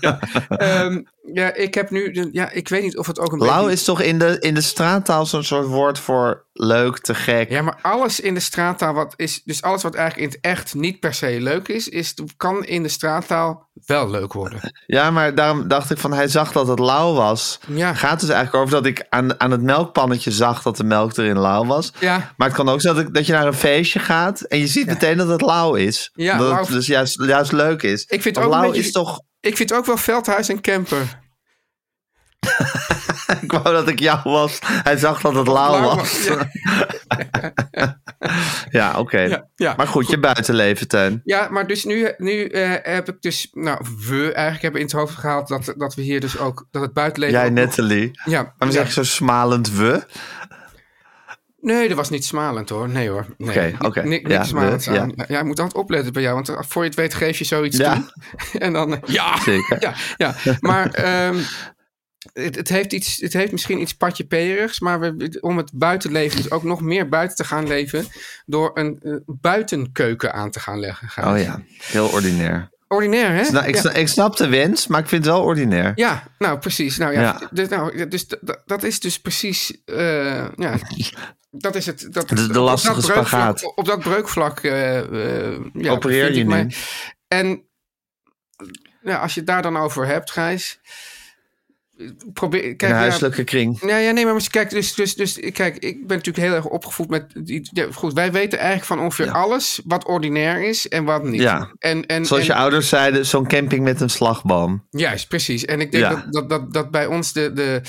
S2: Ja. Ja. Ehm, ja, ik heb nu... de- Ja, ik weet niet of het ook een
S3: Lauw
S2: beetje...
S3: is toch in de, in de straattaal zo'n soort woord voor leuk, te gek.
S2: Ja, maar alles in de straattaal wat is... Dus alles wat eigenlijk in het echt niet per se leuk is... is kan in de straattaal wel leuk worden.
S3: Ja, maar daarom dacht ik van hij zag dat het lauw was.
S2: Ja.
S3: Gaat dus eigenlijk over dat ik aan, aan het melkpannetje zag dat de melk erin lauw was.
S2: Ja.
S3: Maar het kan ook zijn dat, ik, dat je naar een feestje gaat en je ziet meteen dat het lauw is.
S2: Ja,
S3: dat
S2: lauw-
S3: het dus juist, juist leuk is.
S2: Ik vind
S3: Want
S2: ook een
S3: lauw
S2: beetje-
S3: is toch
S2: Ik vind ook wel Veldhuis en Kemper.
S3: ik wou dat ik jou was. Hij zag dat het Lau
S2: Lau
S3: was.
S2: was,
S3: Ja, oké.
S2: Ja, ja,
S3: maar goed, je buitenleven, Teun.
S2: Ja, maar dus nu, nu eh, heb ik dus, nou, we eigenlijk hebben in het hoofd gehaald dat, dat we hier dus ook, dat het buitenleven.
S3: Jij,
S2: ook nog-
S3: Natalie.
S2: Ja,
S3: Waarom
S2: ja.
S3: zeg je zo smalend we?
S2: Nee, dat was niet smalend hoor. Nee hoor. Nee.
S3: Oké, oké.
S2: Ni- Niks
S3: Ja,
S2: smalends
S3: we-
S2: aan. Ja. je moet altijd opletten bij jou, want eh, voor je het weet geef je zoiets
S3: Ja.
S2: toe. en dan, eh, ja,
S3: Zeker.
S2: ja, ja. Maar ehm, het, het, heeft iets, het heeft misschien iets patjeperigs, maar we, om het buitenleven dus ook nog meer buiten te gaan leven, door een eh, buitenkeuken aan te gaan leggen.
S3: Oh ja, heel ordinair.
S2: Ordinair hè?
S3: Nou, ik,
S2: Ja.
S3: sna- ik snap de wens, maar ik vind het wel ordinair.
S2: Ja, nou precies. Nou ja,
S3: Ja.
S2: Dus, nou, dus d- d- dat is dus precies. eh, ja, dat is het. Dat,
S3: De- de
S2: op dat
S3: lastige
S2: breukvlak-
S3: spagaat.
S2: Op, dat breukvlak. eh, eh, ja,
S3: Opereer
S2: bevind
S3: je
S2: ik
S3: nu.
S2: mij. En ja, als je het daar dan over hebt, Gijs. Probeer,
S3: In
S2: kijk,
S3: een
S2: ja,
S3: huiselijke kring.
S2: ja, ja, nee, maar misschien- kijk, dus, dus, dus, kijk, ik ben natuurlijk heel erg opgevoed met. Die, ja, goed, wij weten eigenlijk van ongeveer
S3: Ja.
S2: alles wat ordinair is en wat niet.
S3: Ja.
S2: En, en,
S3: Zoals je
S2: en-
S3: ouders zeiden, zo'n camping met een slagboom.
S2: Juist, precies. En ik denk
S3: Ja.
S2: dat, dat, dat, dat bij ons de, de,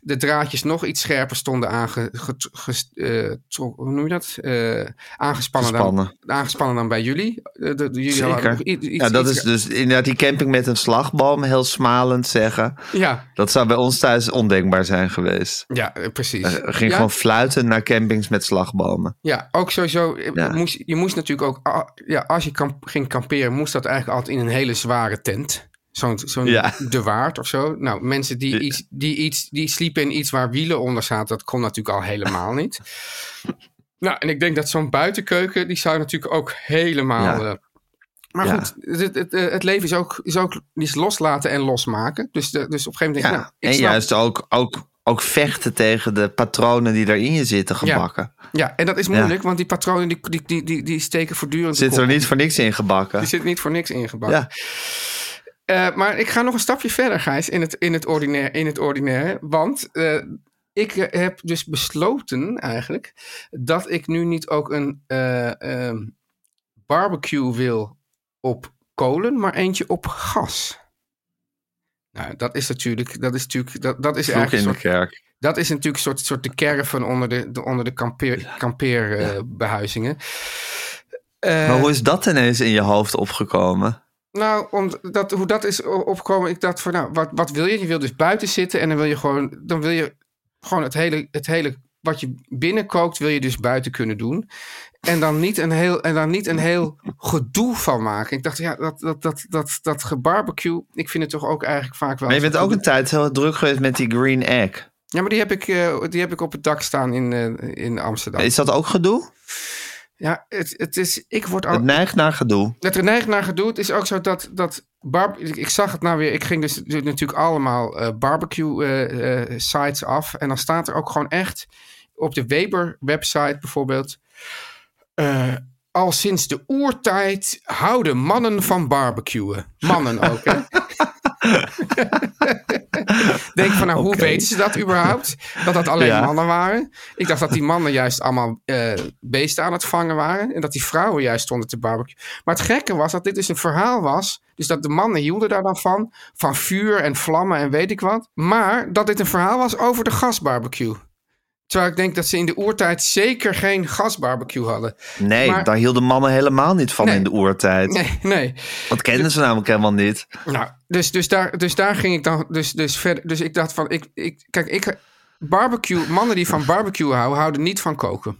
S2: de draadjes nog iets scherper stonden aange, get- ges- eh, tro- hoe noem je dat? Eh, aangespannen, dan,
S3: Gespannen.
S2: aangespannen dan bij jullie. Eh, de- de- jullie hadden nog
S3: Zeker.
S2: i- iets-
S3: ja, dat
S2: iets-
S3: is dus inderdaad die camping met een slagboom, heel smalend zeggen.
S2: ja,
S3: Dat zou bij ons thuis ondenkbaar zijn geweest.
S2: ja, eh, precies.
S3: Er ging
S2: ja,
S3: gewoon fluiten naar campings met slagbomen.
S2: ja, ook sowieso. eh,
S3: Ja.
S2: Moest, je moest natuurlijk ook, ah, ja, als je kamp, ging kamperen, moest dat eigenlijk altijd in een hele zware tent. Zo'n zo'n
S3: Ja.
S2: de waard of zo. Nou, mensen die, iets, die, iets, die sliepen in iets waar wielen onder zaten, dat kon natuurlijk al helemaal niet. Nou, en ik denk dat zo'n buitenkeuken, die zou natuurlijk ook helemaal.
S3: Ja.
S2: eh, maar
S3: Ja.
S2: goed, het, het, eh, het leven is ook, is ook is loslaten en losmaken. Dus, de, dus op een gegeven moment
S3: Ja.
S2: denk ik, nou, ik
S3: en
S2: snap-
S3: juist ook, ook, ook vechten tegen de patronen die daarin je zitten gebakken.
S2: Ja, en dat is moeilijk, want die patronen die, die, die, die, die steken voortdurend. de
S3: Zit er
S2: kop.
S3: niet voor niks in gebakken.
S2: Die zit niet voor niks ingebakken.
S3: Ja,
S2: Eh, maar ik ga nog een stapje verder, Gijs, in het, in het, ordinair, in het ordinaire. Want eh, ik eh, heb dus besloten eigenlijk dat ik nu niet ook een eh, ehm, barbecue wil op kolen, maar eentje op gas. Nou, dat is natuurlijk, dat is natuurlijk, dat, dat is
S3: vloek
S2: eigenlijk
S3: in
S2: een
S3: de
S2: soort,
S3: kerk.
S2: dat is natuurlijk een soort, soort de caravan onder de, de- onder de kampeer- kampeerbehuizingen. Eh,
S3: Maar hoe is dat ineens in je hoofd opgekomen?
S2: Nou, om dat, hoe dat is o- opgekomen, ik dacht van, nou, wat, wat wil je? Je wil dus buiten zitten en dan wil je gewoon, dan wil je gewoon het hele, het hele wat je binnenkookt, wil je dus buiten kunnen doen. En dan niet een heel, en dan niet een heel gedoe van maken. Ik dacht, ja, dat, dat, dat, dat, dat gebarbecue, ik vind het toch ook eigenlijk vaak wel.
S3: Maar je bent ook een tijd heel druk geweest met die green egg.
S2: Ja, maar die heb ik, eh, die heb ik op het dak staan in, eh, in Amsterdam.
S3: Is dat ook gedoe?
S2: Ja, het, het is, ik word al,
S3: Het neigt naar gedoe.
S2: Dat er neigt naar gedoe. Het is ook zo dat, dat barb ik, ik zag het nou weer. Ik ging dus natuurlijk allemaal eh, barbecue eh, eh, sites af. En dan staat er ook gewoon echt op de Weber website bijvoorbeeld. eh, al sinds de oertijd houden mannen van barbecuen. Mannen ook, hè? Denk van, nou, hoe
S3: Oké.
S2: weten ze dat überhaupt? Dat dat alleen
S3: Ja.
S2: mannen waren. Ik dacht dat die mannen juist allemaal eh, beesten aan het vangen waren. En dat die vrouwen juist stonden te barbecue. Maar het gekke was dat dit dus een verhaal was. Dus dat de mannen hielden daar dan van. Van vuur en vlammen en weet ik wat. Maar dat dit een verhaal was over de gasbarbecue. Terwijl ik denk dat ze in de oertijd zeker geen gasbarbecue hadden.
S3: Nee,
S2: Maar-
S3: daar hielden mannen helemaal niet van
S2: Nee.
S3: in de oertijd.
S2: Nee, nee.
S3: Dat kenden ze namelijk helemaal niet.
S2: Nou, dus, dus, daar, dus daar ging ik dan dus, dus verder. Dus ik dacht van, ik, ik, kijk, ik, barbecue, mannen die van barbecue houden, houden niet van koken.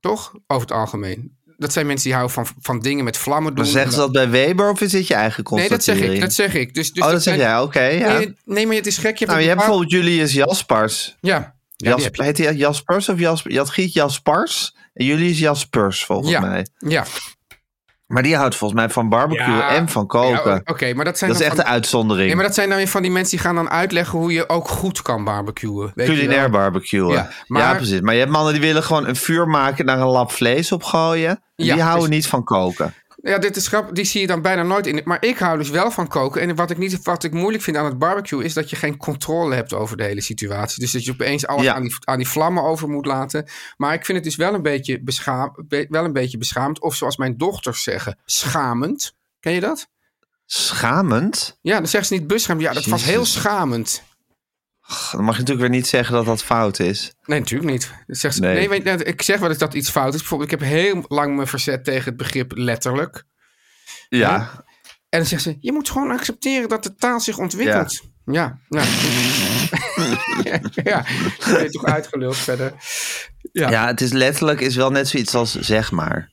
S2: Toch? Over het algemeen. Dat zijn mensen die houden van, van dingen met vlammen doen.
S3: Maar zeggen ze dat bij Weber of is dit je eigen
S2: nee, dat zeg
S3: constatering?
S2: ik. Dat zeg ik. Dus, dus
S3: oh, dat zeg
S2: zijn-
S3: jij, oké. ja.
S2: nee, nee, maar het is gek. Je hebt
S3: nou,
S2: een
S3: je hebt
S2: bepaald-
S3: bijvoorbeeld Julius Jaspers.
S2: Ja. Ja, die
S3: Jasp-
S2: heb je.
S3: Heet hij Jaspers of Jaspers? Je had Giet Jaspers en Julius Jaspers, volgens
S2: Ja.
S3: mij.
S2: ja.
S3: Maar die houdt volgens mij van barbecue
S2: Ja.
S3: en van
S2: Ja,
S3: koken.
S2: o- Oké, maar dat zijn
S3: dat is
S2: dan
S3: echt
S2: van-
S3: een uitzondering.
S2: Nee, maar dat zijn dan weer van die mensen die gaan dan uitleggen hoe je ook goed kan barbecuen. Weet je wel.
S3: Culinair barbecuen.
S2: Ja,
S3: Ja,
S2: maar-
S3: precies. Maar je hebt mannen die willen gewoon een vuur maken, daar een lap vlees op gooien.
S2: Ja,
S3: die houden
S2: precies.
S3: niet van koken.
S2: Ja, dit is grappig. Die zie je dan bijna nooit in. Maar ik hou dus wel van koken. En wat ik, niet, wat ik moeilijk vind aan het barbecue is dat je geen controle hebt over de hele situatie. Dus dat je opeens alles
S3: Ja.
S2: aan, die, aan die vlammen over moet laten. Maar ik vind het dus wel een beetje, beschaam, be- wel een beetje beschaamd. Of zoals mijn dochters zeggen, schamend. Ken je dat?
S3: Schamend.
S2: Ja, dan zeggen ze niet beschaamd. Ja, dat was
S3: Jezus.
S2: heel schamend.
S3: Ach, Dan mag je natuurlijk weer niet zeggen dat dat fout is.
S2: Nee, natuurlijk niet. Dat Zegt ze,
S3: Nee.
S2: nee. weet je, ik zeg wel eens dat iets fout is. Bijvoorbeeld, ik heb heel lang me verzet tegen het begrip letterlijk.
S3: Ja,
S2: En dan zegt ze, je moet gewoon accepteren dat de taal zich ontwikkelt. Ja. Ja. Ja. ja. Dan ben je toch uitgeluld verder. Ja.
S3: ja het is letterlijk is wel net zoiets als zeg maar.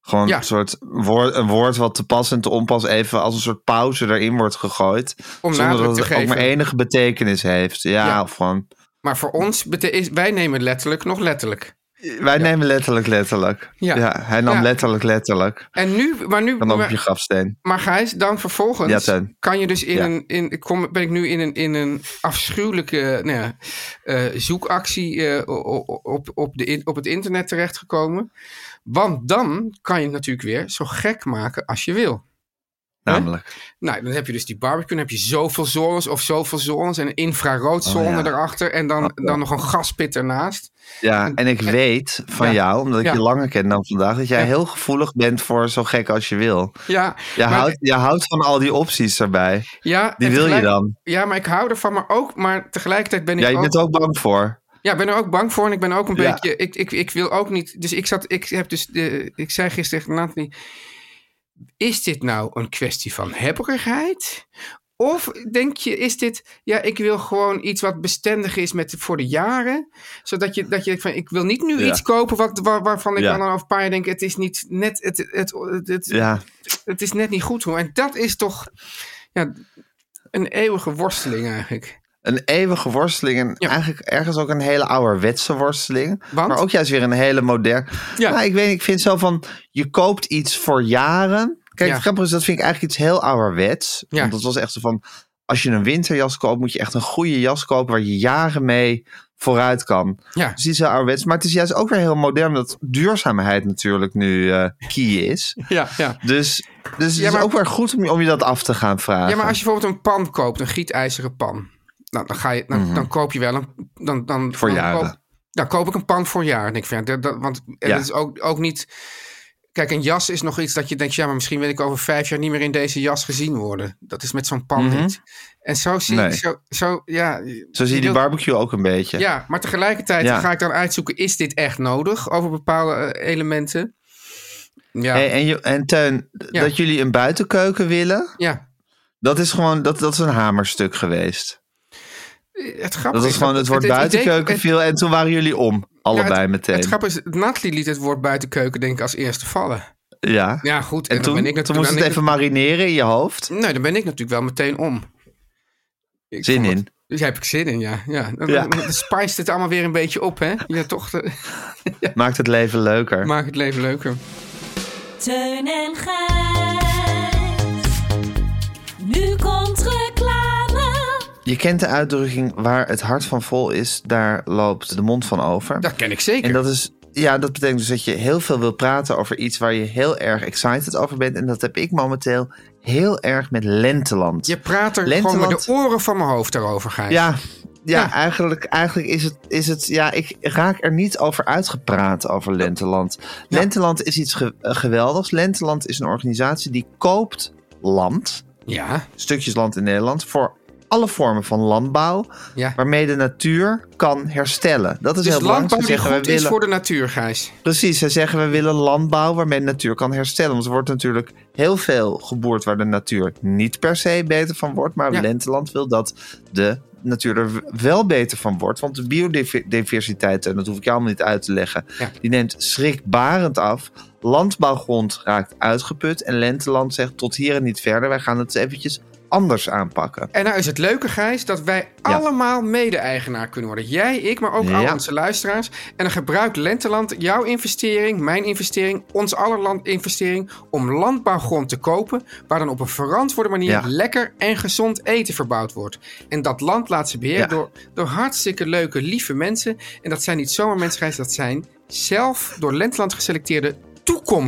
S3: Gewoon
S2: Ja.
S3: een soort woord, een woord wat te pas en te onpas even als een soort pauze erin wordt gegooid. zonder
S2: nadruk
S3: dat
S2: te
S3: het ook maar
S2: geven.
S3: enige betekenis heeft. Ja,
S2: Ja.
S3: of gewoon...
S2: Maar voor ons, bete- is, wij nemen letterlijk nog letterlijk.
S3: Wij nemen letterlijk letterlijk. Ja.
S2: Ja.
S3: hij nam
S2: Ja.
S3: letterlijk letterlijk.
S2: En nu, maar nu,
S3: Dan op je
S2: maar,
S3: grafsteen.
S2: maar Gijs, dan vervolgens
S3: Ja, Teun.
S2: kan je dus in
S3: Ja.
S2: een, in, ik kom, ben ik nu in een, in een afschuwelijke nou ja, eh, zoekactie eh, o- o- op, op, de, in- op het internet terechtgekomen. Want dan kan je het natuurlijk weer zo gek maken als je wil.
S3: Namelijk.
S2: Nou, dan heb je dus die barbecue, dan heb je zoveel zones of zoveel zones en een infraroodzone
S3: Oh, ja.
S2: erachter en dan, dan nog een gaspit ernaast.
S3: Ja, en ik weet van
S2: Ja.
S3: jou, omdat ik
S2: Ja.
S3: je langer ken dan vandaag, dat jij
S2: Ja.
S3: heel gevoelig bent voor zo gek als je wil.
S2: Ja,
S3: Je,
S2: maar-
S3: houdt, je houdt van al die opties erbij.
S2: ja,
S3: Die
S2: en
S3: wil je
S2: tegelijk-
S3: dan.
S2: Ja, maar ik hou ervan, maar ook, maar tegelijkertijd ben ik
S3: Ja, je
S2: ook,
S3: bent ook bang voor.
S2: ja, ik ben er ook bang voor en ik ben ook een
S3: Ja.
S2: beetje, ik, ik, ik wil ook niet, dus ik zat, ik heb dus, de, ik zei gisteren tegen Nathalie, is dit nou een kwestie van hebberigheid? Of denk je, is dit, ja, ik wil gewoon iets wat bestendig is met, voor de jaren, zodat je, dat je denkt van, ik wil niet nu
S3: Ja.
S2: iets kopen wat, waar- waarvan ik
S3: Ja.
S2: dan over een paar jaar denk, het is niet net, het, het, het, het,
S3: Ja.
S2: het is net niet goed hoor. En dat is toch, ja, een eeuwige worsteling eigenlijk.
S3: Een eeuwige worsteling en
S2: Ja.
S3: eigenlijk ergens ook een hele ouderwetse worsteling.
S2: Want?
S3: Maar ook juist weer een hele moderne.
S2: Ja.
S3: Nou, ik weet, niet, ik vind zo van, je koopt iets voor jaren. Kijk,
S2: Ja.
S3: het grappige is, dat vind ik eigenlijk iets heel ouderwets.
S2: Ja.
S3: Want dat was echt zo van, als je een winterjas koopt, moet je echt een goede jas kopen waar je jaren mee vooruit kan.
S2: Ja.
S3: Dus iets heel ouderwets. Maar het is juist ook weer heel modern, dat duurzaamheid natuurlijk nu eh, key is.
S2: Ja, ja.
S3: Dus, dus
S2: Ja,
S3: het
S2: maar-
S3: is ook weer goed om je, om je dat af te gaan vragen.
S2: ja, maar als je bijvoorbeeld een pan koopt, een gietijzeren pan. Nou, dan, ga je, dan, dan koop je wel een... Dan, dan,
S3: Mhm. Voor
S2: dan
S3: jaren.
S2: Koop, dan koop ik een pan voor jaar. En ik vind, ja, dat, dat- want en
S3: Ja.
S2: dat is ook, ook niet... Kijk, een jas is nog iets dat je denkt... Ja, maar misschien wil ik over vijf jaar niet meer in deze jas gezien worden. Dat is met zo'n pan niet. En zo zie
S3: Mhm. Nee.
S2: ik... Zo, zo, ja,
S3: Zo zie je die
S2: wilt-
S3: barbecue ook een beetje.
S2: Ja, maar tegelijkertijd
S3: Ja.
S2: ga ik dan uitzoeken... Is dit echt nodig over bepaalde eh, elementen? Ja,
S3: Hey, en, je- en Teun,
S2: Ja.
S3: dat jullie een buitenkeuken willen,
S2: ja.
S3: dat is gewoon dat, dat is een hamerstuk geweest.
S2: Het grappige
S3: Dat is
S2: is
S3: gewoon
S2: dat-
S3: het woord
S2: idee-
S3: buitenkeuken
S2: het-
S3: viel en toen waren jullie om,
S2: Ja, het-
S3: allebei meteen.
S2: Het grappige is, Nathalie liet het woord buitenkeuken denk ik als eerste vallen.
S3: ja.
S2: Ja, goed.
S3: en toen,
S2: dan ben ik
S3: toen
S2: natuurlijk
S3: moest het even marineren in je hoofd.
S2: Nee, dan ben ik natuurlijk wel meteen om. Ik
S3: Zin
S2: vond het-
S3: in.
S2: Dus daar heb ik zin in, ja. ja. Dan,
S3: Ja.
S2: dan spiced het allemaal weer een beetje op, hè? Ja, toch. eh,
S3: Maakt het leven leuker.
S2: maakt het leven leuker.
S5: Teun en Gijs. Nu komt reclame.
S3: Je kent de uitdrukking waar het hart van vol is, daar loopt de mond van over.
S2: Dat ken ik zeker.
S3: En dat is, ja, dat betekent dus dat je heel veel wil praten over iets waar je heel erg excited over bent. En dat heb ik momenteel heel erg met Lenteland.
S2: Je praat er gewoon met
S3: Lenteland-
S2: de oren van mijn hoofd daarover, Gijs.
S3: Ja, ja,
S2: Ja.
S3: eigenlijk, eigenlijk is, het, is het. Ja, ik raak er niet over uitgepraat over Lenteland. Lenteland is iets ge- eh, geweldigs. Lenteland is een organisatie die koopt land,
S2: Ja,
S3: stukjes land in Nederland, voor alle vormen van landbouw,
S2: ja.
S3: waarmee de natuur kan herstellen. Dat is
S2: Dus
S3: heel belangrijk.
S2: landbouw die
S3: Ze zeggen,
S2: goed
S3: we
S2: is
S3: willen-
S2: voor de natuur, Gijs.
S3: Precies, zij zeggen we willen landbouw waarmee de natuur kan herstellen. Want er wordt natuurlijk heel veel geboerd waar de natuur niet per se beter van wordt. Maar
S2: Ja.
S3: Lenteland wil dat de natuur er wel beter van wordt. Want de biodiversiteit, en dat hoef ik je allemaal niet uit te leggen,
S2: Ja.
S3: die neemt schrikbarend af. Landbouwgrond raakt uitgeput en Lenteland zegt tot hier en niet verder. Wij gaan het eventjes anders aanpakken.
S2: En nou is het leuke, Gijs, dat wij
S3: Ja.
S2: allemaal mede-eigenaar kunnen worden. Jij, ik, maar ook
S3: Ja.
S2: al onze luisteraars. En dan gebruikt Lenteland jouw investering, mijn investering, ons aller land investering... om landbouwgrond te kopen, waar dan op een verantwoorde manier...
S3: Ja.
S2: lekker en gezond eten verbouwd wordt. En dat land laat ze beheren
S3: Ja.
S2: door, door hartstikke leuke, lieve mensen. En dat zijn niet zomaar mensen, Gijs, dat zijn zelf door Lenteland geselecteerde...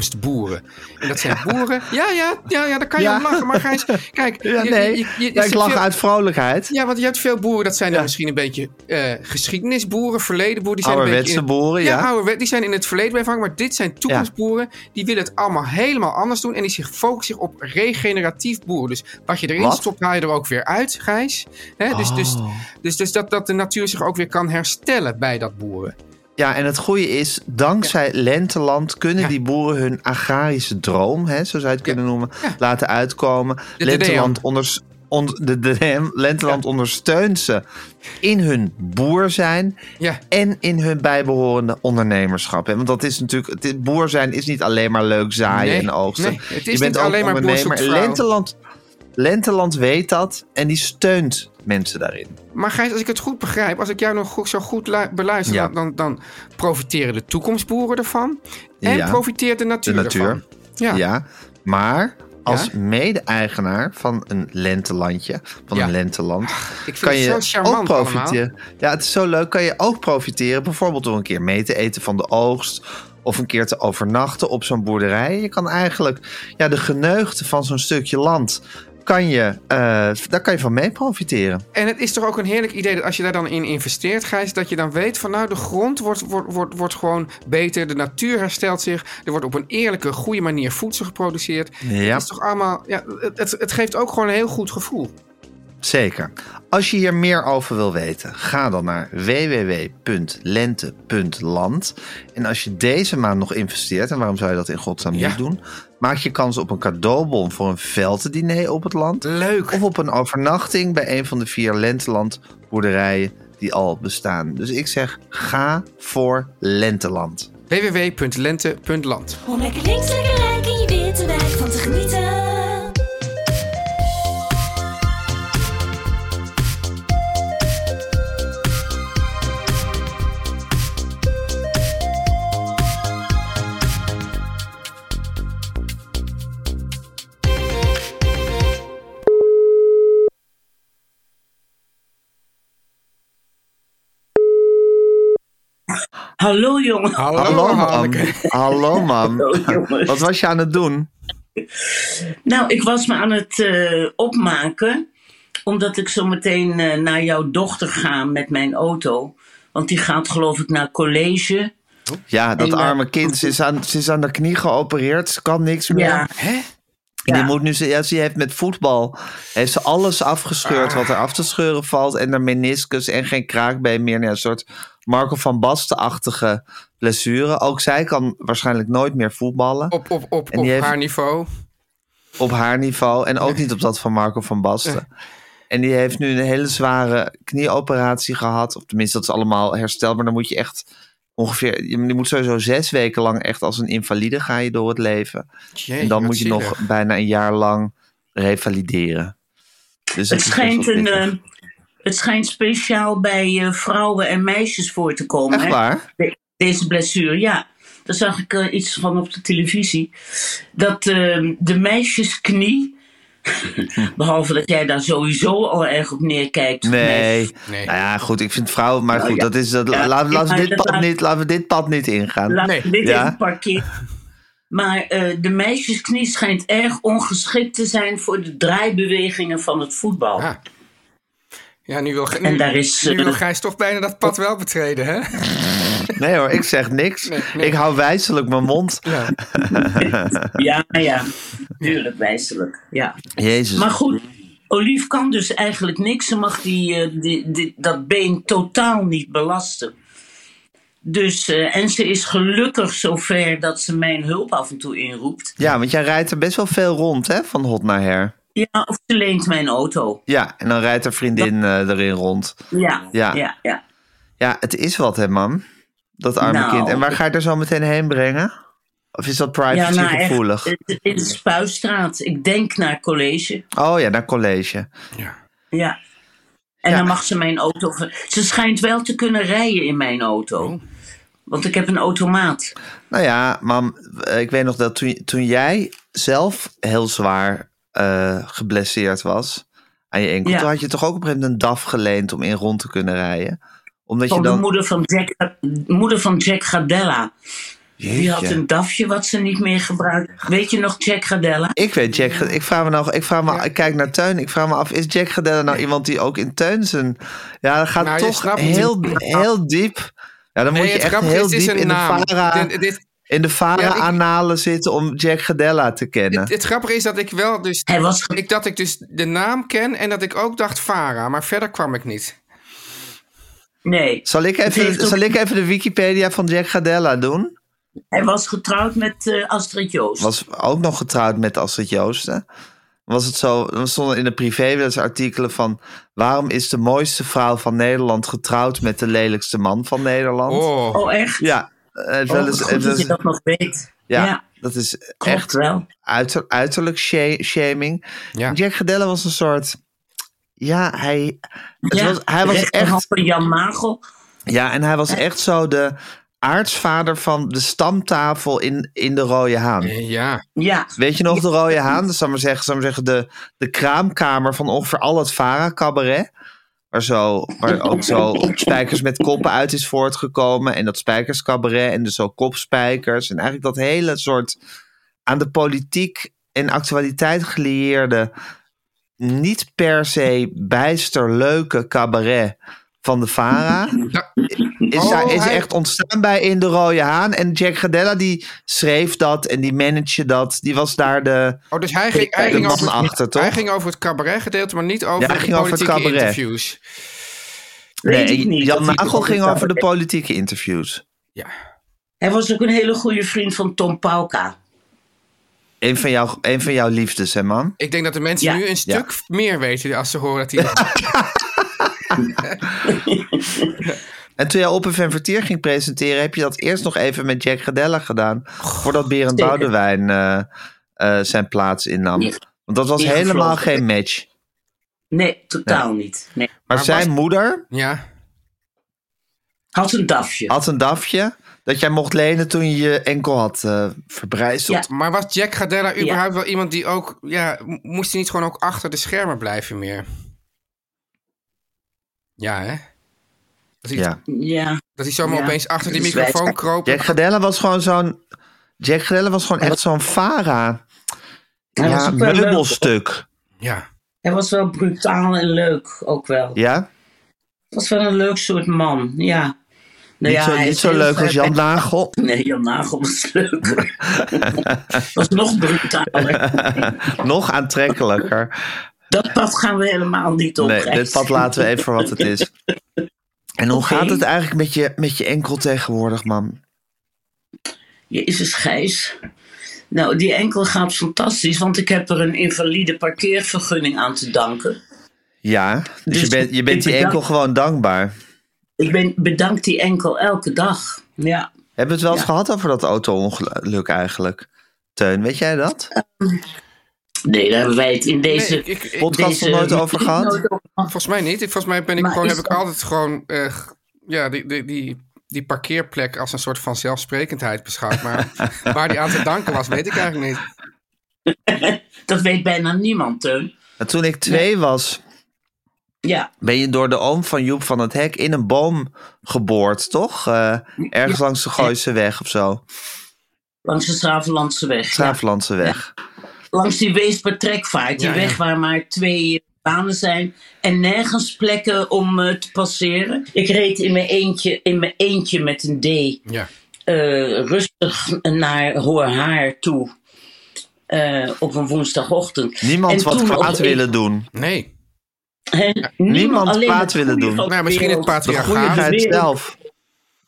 S2: toekomstboeren. En dat zijn boeren. Ja, ja, ja, ja daar kan je
S3: Ja.
S2: om lachen. Maar Gijs, kijk.
S3: Ja,
S2: je-
S3: nee,
S2: je- je- je-
S3: Ja, ik lach
S2: veel-
S3: uit vrolijkheid.
S2: Ja, want je hebt veel boeren, dat zijn dan misschien een beetje eh, geschiedenisboeren, verledenboeren. Die zijn
S3: Ouderwetse
S2: een beetje in-
S3: boeren, ja.
S2: ouderwet- die zijn in het verleden bij hangen, maar dit zijn toekomstboeren. Die willen het allemaal helemaal anders doen en die zich focussen zich op regeneratief boeren. Dus wat je erin
S3: Wat? Oh.
S2: stopt, haal je er ook weer uit, Gijs. Hè, dus, dus, dus, dus dat, dat de natuur zich ook weer kan herstellen bij dat boeren.
S3: Ja, en het goede is, dankzij lenteland kunnen
S2: Ja.
S3: die boeren hun agrarische droom, hè, zo zou je het kunnen noemen, laten uitkomen.
S2: De
S3: lenteland onders, on, de, DDM, lenteland ondersteunt ze in hun boer zijn
S2: Ja.
S3: en in hun bijbehorende ondernemerschap. Hè. Want dat is natuurlijk, het, is- boer zijn is niet alleen maar leuk zaaien
S2: Nee,
S3: en oogsten.
S2: nee, het is niet alleen maar boer zoekt
S3: En
S2: vrouw.
S3: lenteland, lenteland weet dat en die steunt mensen daarin.
S2: Maar Gijs, als ik het goed begrijp, als ik jou nog goed, zo goed lu- beluister,
S3: Ja.
S2: dan, dan, dan profiteren de toekomstboeren ervan. En
S3: Ja.
S2: profiteert de natuur,
S3: De natuur.
S2: ervan. Ja.
S3: Ja.
S2: ja.
S3: Maar als
S2: Ja?
S3: mede-eigenaar van een lentelandje, van
S2: Ja. Ah,
S3: een lenteland,
S2: ik vind
S3: kan
S2: het
S3: je
S2: zo charmant
S3: ook profiteren. Ja, het is zo leuk. Kan je ook profiteren, bijvoorbeeld door een keer mee te eten van de oogst. Of een keer te overnachten op zo'n boerderij. Je kan eigenlijk ja, de geneugten van zo'n stukje land. Kan je, eh, daar kan je van mee profiteren.
S2: En het is toch ook een heerlijk idee dat als je daar dan in investeert, Gijs, dat je dan weet van nou, de grond wordt, wordt, wordt, wordt gewoon beter, de natuur herstelt zich, er wordt op een eerlijke, goede manier voedsel geproduceerd.
S3: Ja.
S2: Het is toch allemaal, ja, het, het, het geeft ook gewoon een heel goed gevoel.
S3: Zeker. Als je hier meer over wil weten, ga dan naar www.lente.land. En als je deze maand nog investeert, en waarom zou je dat in godsnaam
S2: Ja.
S3: niet doen? Maak je kans op een cadeaubon voor een veldendiner op het land.
S2: Leuk.
S3: Of op een overnachting bij een van de vier Lenteland boerderijen die al bestaan. Dus ik zeg, ga voor Lenteland.
S2: www.lente.land.
S5: Om lekker links, lekker rijk in je witte wijk van te genieten.
S6: Hallo jongen.
S3: Hallo mam.
S2: Hanneke.
S3: Hallo mam.
S6: Hallo, jongens.
S3: Wat was je aan het doen?
S6: Nou, ik was me aan het eh, opmaken. Omdat ik zo meteen eh, naar jouw dochter ga met mijn auto. Want die gaat geloof ik naar college.
S3: Ja, dat
S6: En, eh,
S3: arme kind. Ze is, aan, ze is aan de knie geopereerd. Ze kan niks meer.
S6: Ja.
S3: Hè? En die
S6: Ja.
S3: moet nu, ze- ja, ze heeft met voetbal heeft ze alles afgescheurd wat er af te scheuren valt. En haar meniscus en geen kraakbeen meer. Nou, een soort Marco van Basten-achtige blessure. Ook zij kan waarschijnlijk nooit meer voetballen
S2: Op, op, op,
S3: En
S2: op
S3: die heeft-
S2: haar niveau.
S3: op haar niveau. En ook niet op dat van Marco van Basten. En die heeft nu een hele zware knieoperatie gehad. Of tenminste, dat is allemaal herstel. Maar dan moet je echt ongeveer... Je moet sowieso zes weken lang echt als een invalide ga je door het leven.
S2: Jee,
S3: en dan
S2: wat
S3: moet je
S2: zielig.
S3: nog bijna een jaar lang revalideren. Dus
S6: Het
S3: is
S6: schijnt,
S3: best wel
S6: een,
S3: pittig.
S6: eh, het schijnt speciaal bij eh, vrouwen en meisjes voor te komen.
S3: Echt
S6: hè?
S3: waar?
S6: De- deze blessure, ja. Daar zag ik eh, iets van op de televisie. Dat eh, de meisjesknie. behalve dat jij daar sowieso al erg op neerkijkt.
S3: Nee.
S2: Nee.
S3: Nou ja, goed. Ik vind vrouwen... Maar goed,
S6: Oh, ja.
S3: dat is... Dat,
S6: Ja,
S3: laten,
S6: ik
S3: laten, we dit
S6: vind dat
S3: pad
S6: laat-
S3: niet, laten we dit pad niet ingaan.
S6: Laat
S2: Nee.
S6: dit
S3: Ja.
S6: even parkeren. Maar eh, de meisjesknie schijnt erg ongeschikt te zijn voor de draaibewegingen van het voetbal.
S2: Ja. Ja, nu wil, Ge-
S6: En
S2: nu-
S6: daar is,
S2: nu wil
S6: eh,
S2: Gijs toch bijna dat pad wel betreden, hè?
S3: Nee hoor, ik zeg niks. Ik hou wijselijk mijn mond.
S2: Ja.
S6: Ja, ja. Tuurlijk, wijselijk. Ja.
S3: Jezus.
S6: Maar goed, Olief kan dus eigenlijk niks. Ze mag die, eh, die, die- dat been totaal niet belasten. Dus, eh, en ze is gelukkig zover dat ze mijn hulp af en toe inroept.
S3: Ja, want jij rijdt er best wel veel rond, hè? Van hot naar her.
S6: Ja, of ze leent mijn auto.
S3: Ja, en dan rijdt er vriendin eh, erin rond.
S6: Ja,
S3: Ja.
S6: ja, ja.
S3: Ja, het is wat, hè, man? Dat arme
S6: Nou.
S3: kind. En waar ga je er zo meteen heen brengen? Of is dat
S6: Ja,
S3: privacy
S6: nou, echt,
S3: gevoelig?
S6: het- het is Spuistraat. Ik denk naar college.
S3: Oh ja, naar college.
S6: Ja. En
S3: Ja.
S6: dan mag ze mijn auto. ver- Ze schijnt wel te kunnen rijden in mijn
S3: Oh.
S6: auto. Want ik heb een automaat.
S3: Nou ja, mam, eh, ik weet nog dat toen, toen jij zelf heel zwaar eh, geblesseerd was aan je enkel,
S6: Ja.
S3: toen had je toch ook op een gegeven moment een DAF geleend om in rond te kunnen rijden? Omdat
S6: Van
S3: je
S6: de
S3: dan.
S6: moeder van Jack, moeder van Jack Gadella. Die had een dafje wat ze niet meer gebruikt. Weet je nog Jack Gadella?
S3: Ik weet Jack. Gad- Ik vraag me nog. Ik vraag me. Ik kijk naar Teun. Ik vraag me af. Is Jack Gadella nou iemand die ook in Teun zijn? Ja, dat gaat
S2: Nou, je
S3: toch
S2: snapt het.
S3: heel, heel diep. Ja, dan moet je echt heel diep in de Vara,
S2: Dit- dit-
S3: in de vara
S2: Ja, ik-
S3: analen zitten om Jack Gadella te kennen.
S2: Het grappige is dat ik wel dus...
S6: Hij was ge-
S2: Ik, dat ik dus de naam ken en dat ik ook dacht Vara, maar verder kwam ik niet.
S6: Nee.
S3: zal ik
S6: Het heeft
S3: even,
S6: ook-
S3: zal ik even de Wikipedia van Jack Gadella doen?
S6: Hij was getrouwd met eh, Astrid Joost.
S3: was ook nog getrouwd met Astrid Joosten. Was het zo, dan stonden in de privé wel eens artikelen van... waarom is de mooiste vrouw van Nederland getrouwd met de lelijkste man van Nederland?
S2: Oh,
S6: Oh, echt?
S3: Ja, eh,
S6: Oh,
S3: wel eens-
S6: goed
S3: eh, wel
S6: dat je
S3: eens-
S6: dat nog weet.
S3: ja,
S6: Ja,
S3: dat is
S6: klopt
S3: echt
S6: wel.
S3: uiter- uiterlijk sha- shaming.
S2: Ja.
S3: Jack Gedelle was een soort... Ja, hij, het
S6: Ja,
S3: was, hij was echt...
S6: rechterhand van Jan Magel.
S3: Ja, en hij was echt zo de aartsvader van de stamtafel in, in de Rode Haan.
S2: ja.
S6: Ja,
S3: Weet je nog de Rode Haan? Dat zou maar zeggen, zou maar zeggen de, de kraamkamer van ongeveer al het Vara-cabaret. Waar, zo, waar ook zo spijkers met koppen uit is voortgekomen. En dat spijkerscabaret en dus zo kopspijkers. En eigenlijk dat hele soort aan de politiek en actualiteit gelieerde... niet per se bijster leuke cabaret van de Vara
S2: Da-
S3: is,
S2: Oh,
S3: daar, is
S2: hij-
S3: echt ontstaan bij In de Rode Haan. En Jack Gadella die schreef dat en die managede dat. Die was daar de...
S2: Oh, dus hij ging, hij
S3: De
S2: ging
S3: man
S2: over,
S3: achter, toch?
S2: Hij ging over het cabaret gedeelte, maar niet over
S3: Ja, hij
S2: de
S3: ging over het
S2: politieke
S3: cabaret.
S2: interviews.
S6: weet ik niet.
S3: Jan
S6: of hij
S3: Nagel
S6: erop
S3: ging
S6: is
S3: over de
S6: dat-
S3: politieke interviews.
S2: Ja.
S6: Hij was ook een hele goede vriend van Tom Pauka.
S3: Een van, jou, een van jouw liefdes, hè man?
S2: Ik denk dat de mensen
S6: Ja.
S2: nu een stuk meer weten als ze horen dat hij...
S3: En toen jij Op en Vertier ging presenteren... heb je dat eerst nog even met Jack Gadella gedaan. Voordat Berend
S6: zeker.
S3: Boudewijn eh, eh, zijn plaats innam.
S6: Ja.
S3: Want dat was
S6: Ja,
S3: helemaal
S6: gevlogen.
S3: geen match.
S6: Nee, totaal niet. Nee.
S3: Maar,
S2: Maar
S3: zijn
S2: was-
S3: moeder
S2: ja.
S6: Had een dafje.
S3: had een dafje... dat jij mocht lenen toen je je enkel had eh verbrijzeld.
S6: Ja.
S2: Maar was Jack Gadella überhaupt wel iemand die ook... Ja, m- moest hij niet gewoon ook achter de schermen blijven meer? Ja, hè? Dat hij,
S3: ja.
S6: Ja.
S2: dat hij zomaar
S6: Ja.
S2: opeens achter die
S6: Dus
S2: microfoon
S6: wij-
S2: kroop.
S3: Jack Gadella was gewoon zo'n. Jack Gadella was gewoon echt zo'n Fara.
S6: Hij was
S3: Ja,
S6: ook wel leuk,
S3: meubelstuk.
S2: Ja.
S6: Hij was wel brutaal en leuk ook wel.
S3: Ja?
S6: was wel een leuk soort man, ja. Nou
S3: Niet
S6: ja,
S3: zo,
S6: hij
S3: niet
S6: is
S3: zo
S6: heel
S3: leuk
S6: ver
S3: als Jan
S6: weg-
S3: Nagel.
S6: Nee, Jan Nagel was leuker. was nog brutaler.
S3: Nog aantrekkelijker.
S6: Dat pad gaan we helemaal niet op.
S3: Nee, dit pad laten we even voor wat het is. En hoe
S6: Oké.
S3: gaat het eigenlijk met je, met je enkel tegenwoordig, man?
S6: Jezus, Gijs. Nou, die enkel gaat fantastisch, want ik heb er een invalide parkeervergunning aan te danken.
S3: Ja, dus,
S6: Dus
S3: je bent, je
S6: ik
S3: bent die
S6: bedank-
S3: enkel gewoon dankbaar.
S6: Ik ben, bedank die enkel elke dag. Ja.
S3: Hebben we het wel eens
S6: Ja.
S3: gehad over dat auto-ongeluk eigenlijk? Teun, weet jij dat?
S6: Nee, daar hebben wij het in deze...
S2: Nee, ik- ik-
S3: Podcast nog
S6: deze-
S3: nooit over gehad?
S6: Nooit over gehad.
S2: Volgens mij niet. Ik- Volgens mij ben ik
S6: Maar
S2: gewoon,
S6: is
S2: heb ik
S6: dat-
S2: altijd gewoon eh, g- ja, die, die, die, die parkeerplek als een soort van zelfsprekendheid beschouwd. Maar waar die aan te danken was, weet ik eigenlijk niet.
S6: Dat weet bijna niemand, Teun.
S3: Nou, Toen ik twee was,
S6: Ja,
S3: ben je door de oom van Joep van het Hek in een boom geboord, toch? Eh, ergens langs de Gooise weg of zo.
S6: langs de Stravenlandse weg. ja.
S3: Graaflandse weg.
S6: langs die Weespertrekvaart, die
S2: Ja, ja.
S6: weg waar maar twee eh, banen zijn en nergens plekken om eh, te passeren. Ik reed in mijn eentje, in mijn eentje met een D
S2: Ja.
S6: eh, rustig naar Hoorhaar toe eh, op een woensdagochtend.
S3: Niemand
S6: En
S3: wat
S6: toen
S3: kwaad
S6: opeens-
S3: willen doen.
S2: Nee
S6: Hè,
S3: niemand
S6: alleen
S3: kwaad
S6: het
S3: willen
S6: goede
S3: doen.
S6: van de
S2: Nou, misschien het
S6: wereld.
S3: De
S2: patriarchaat.
S3: goede tijd
S6: wereld-
S3: zelf.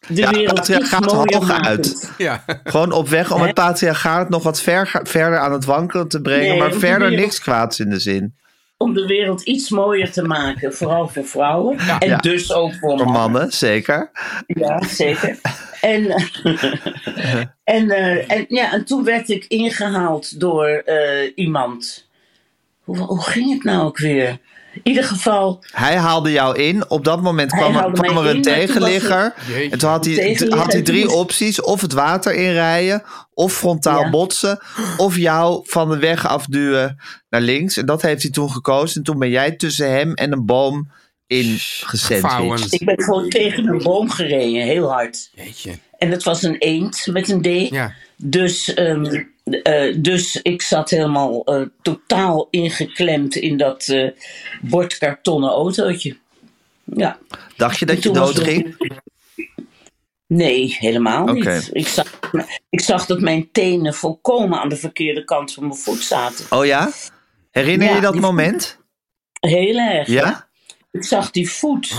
S6: De
S3: Ja,
S6: wereld
S3: het patriarchaat
S6: iets mooier
S3: hoog uit.
S6: makend.
S2: Ja.
S3: Gewoon op weg om
S6: Hè?
S3: het patriarchaat nog wat ver, verder aan het wankelen te brengen.
S6: Nee,
S3: maar
S6: op de
S3: verder
S6: wereld.
S3: niks kwaads in de zin.
S6: Om de wereld iets mooier te maken, vooral voor vrouwen. en
S3: Ja.
S6: dus ook voor
S3: Voor
S6: mannen.
S3: mannen, zeker.
S6: Ja, zeker. En, en, eh, en, ja, en toen werd ik ingehaald door eh, iemand. Hoe, hoe ging het nou ook weer? In ieder geval,
S3: Hij haalde jou in. Op dat moment
S6: Hij
S3: kwam, er-
S6: haalde mij
S3: kwam er een
S6: in, maar toen was
S3: tegenligger.
S2: het- Jeetje.
S3: En toen had hij,
S6: Tegenligger,
S3: had hij
S6: en toen
S3: drie
S6: moest-
S3: opties. Of het water inrijden. Of frontaal
S6: Ja.
S3: botsen. Of jou van de weg afduwen naar links. En dat heeft hij toen gekozen. En toen ben jij tussen hem en een boom in
S2: Vouwen.
S3: gesandwiched.
S6: Ik ben gewoon tegen een boom gereden, heel hard.
S2: Jeetje.
S6: En het was een eend met een D.
S2: Ja.
S6: Dus, ehm, eh, dus ik zat helemaal eh, totaal ingeklemd in dat eh, bordkartonnen autootje. Ja.
S3: Dacht je dat je
S6: Toen was
S3: dood
S6: het-
S3: ging?
S6: Nee, helemaal niet.
S3: Oké.
S6: Ik, zag, ik zag dat mijn tenen volkomen aan de verkeerde kant van mijn voet zaten.
S3: Oh ja? Herinner
S6: Ja,
S3: je dat
S6: die-
S3: moment?
S6: Heel erg.
S3: Ja?
S6: Ik zag die voet.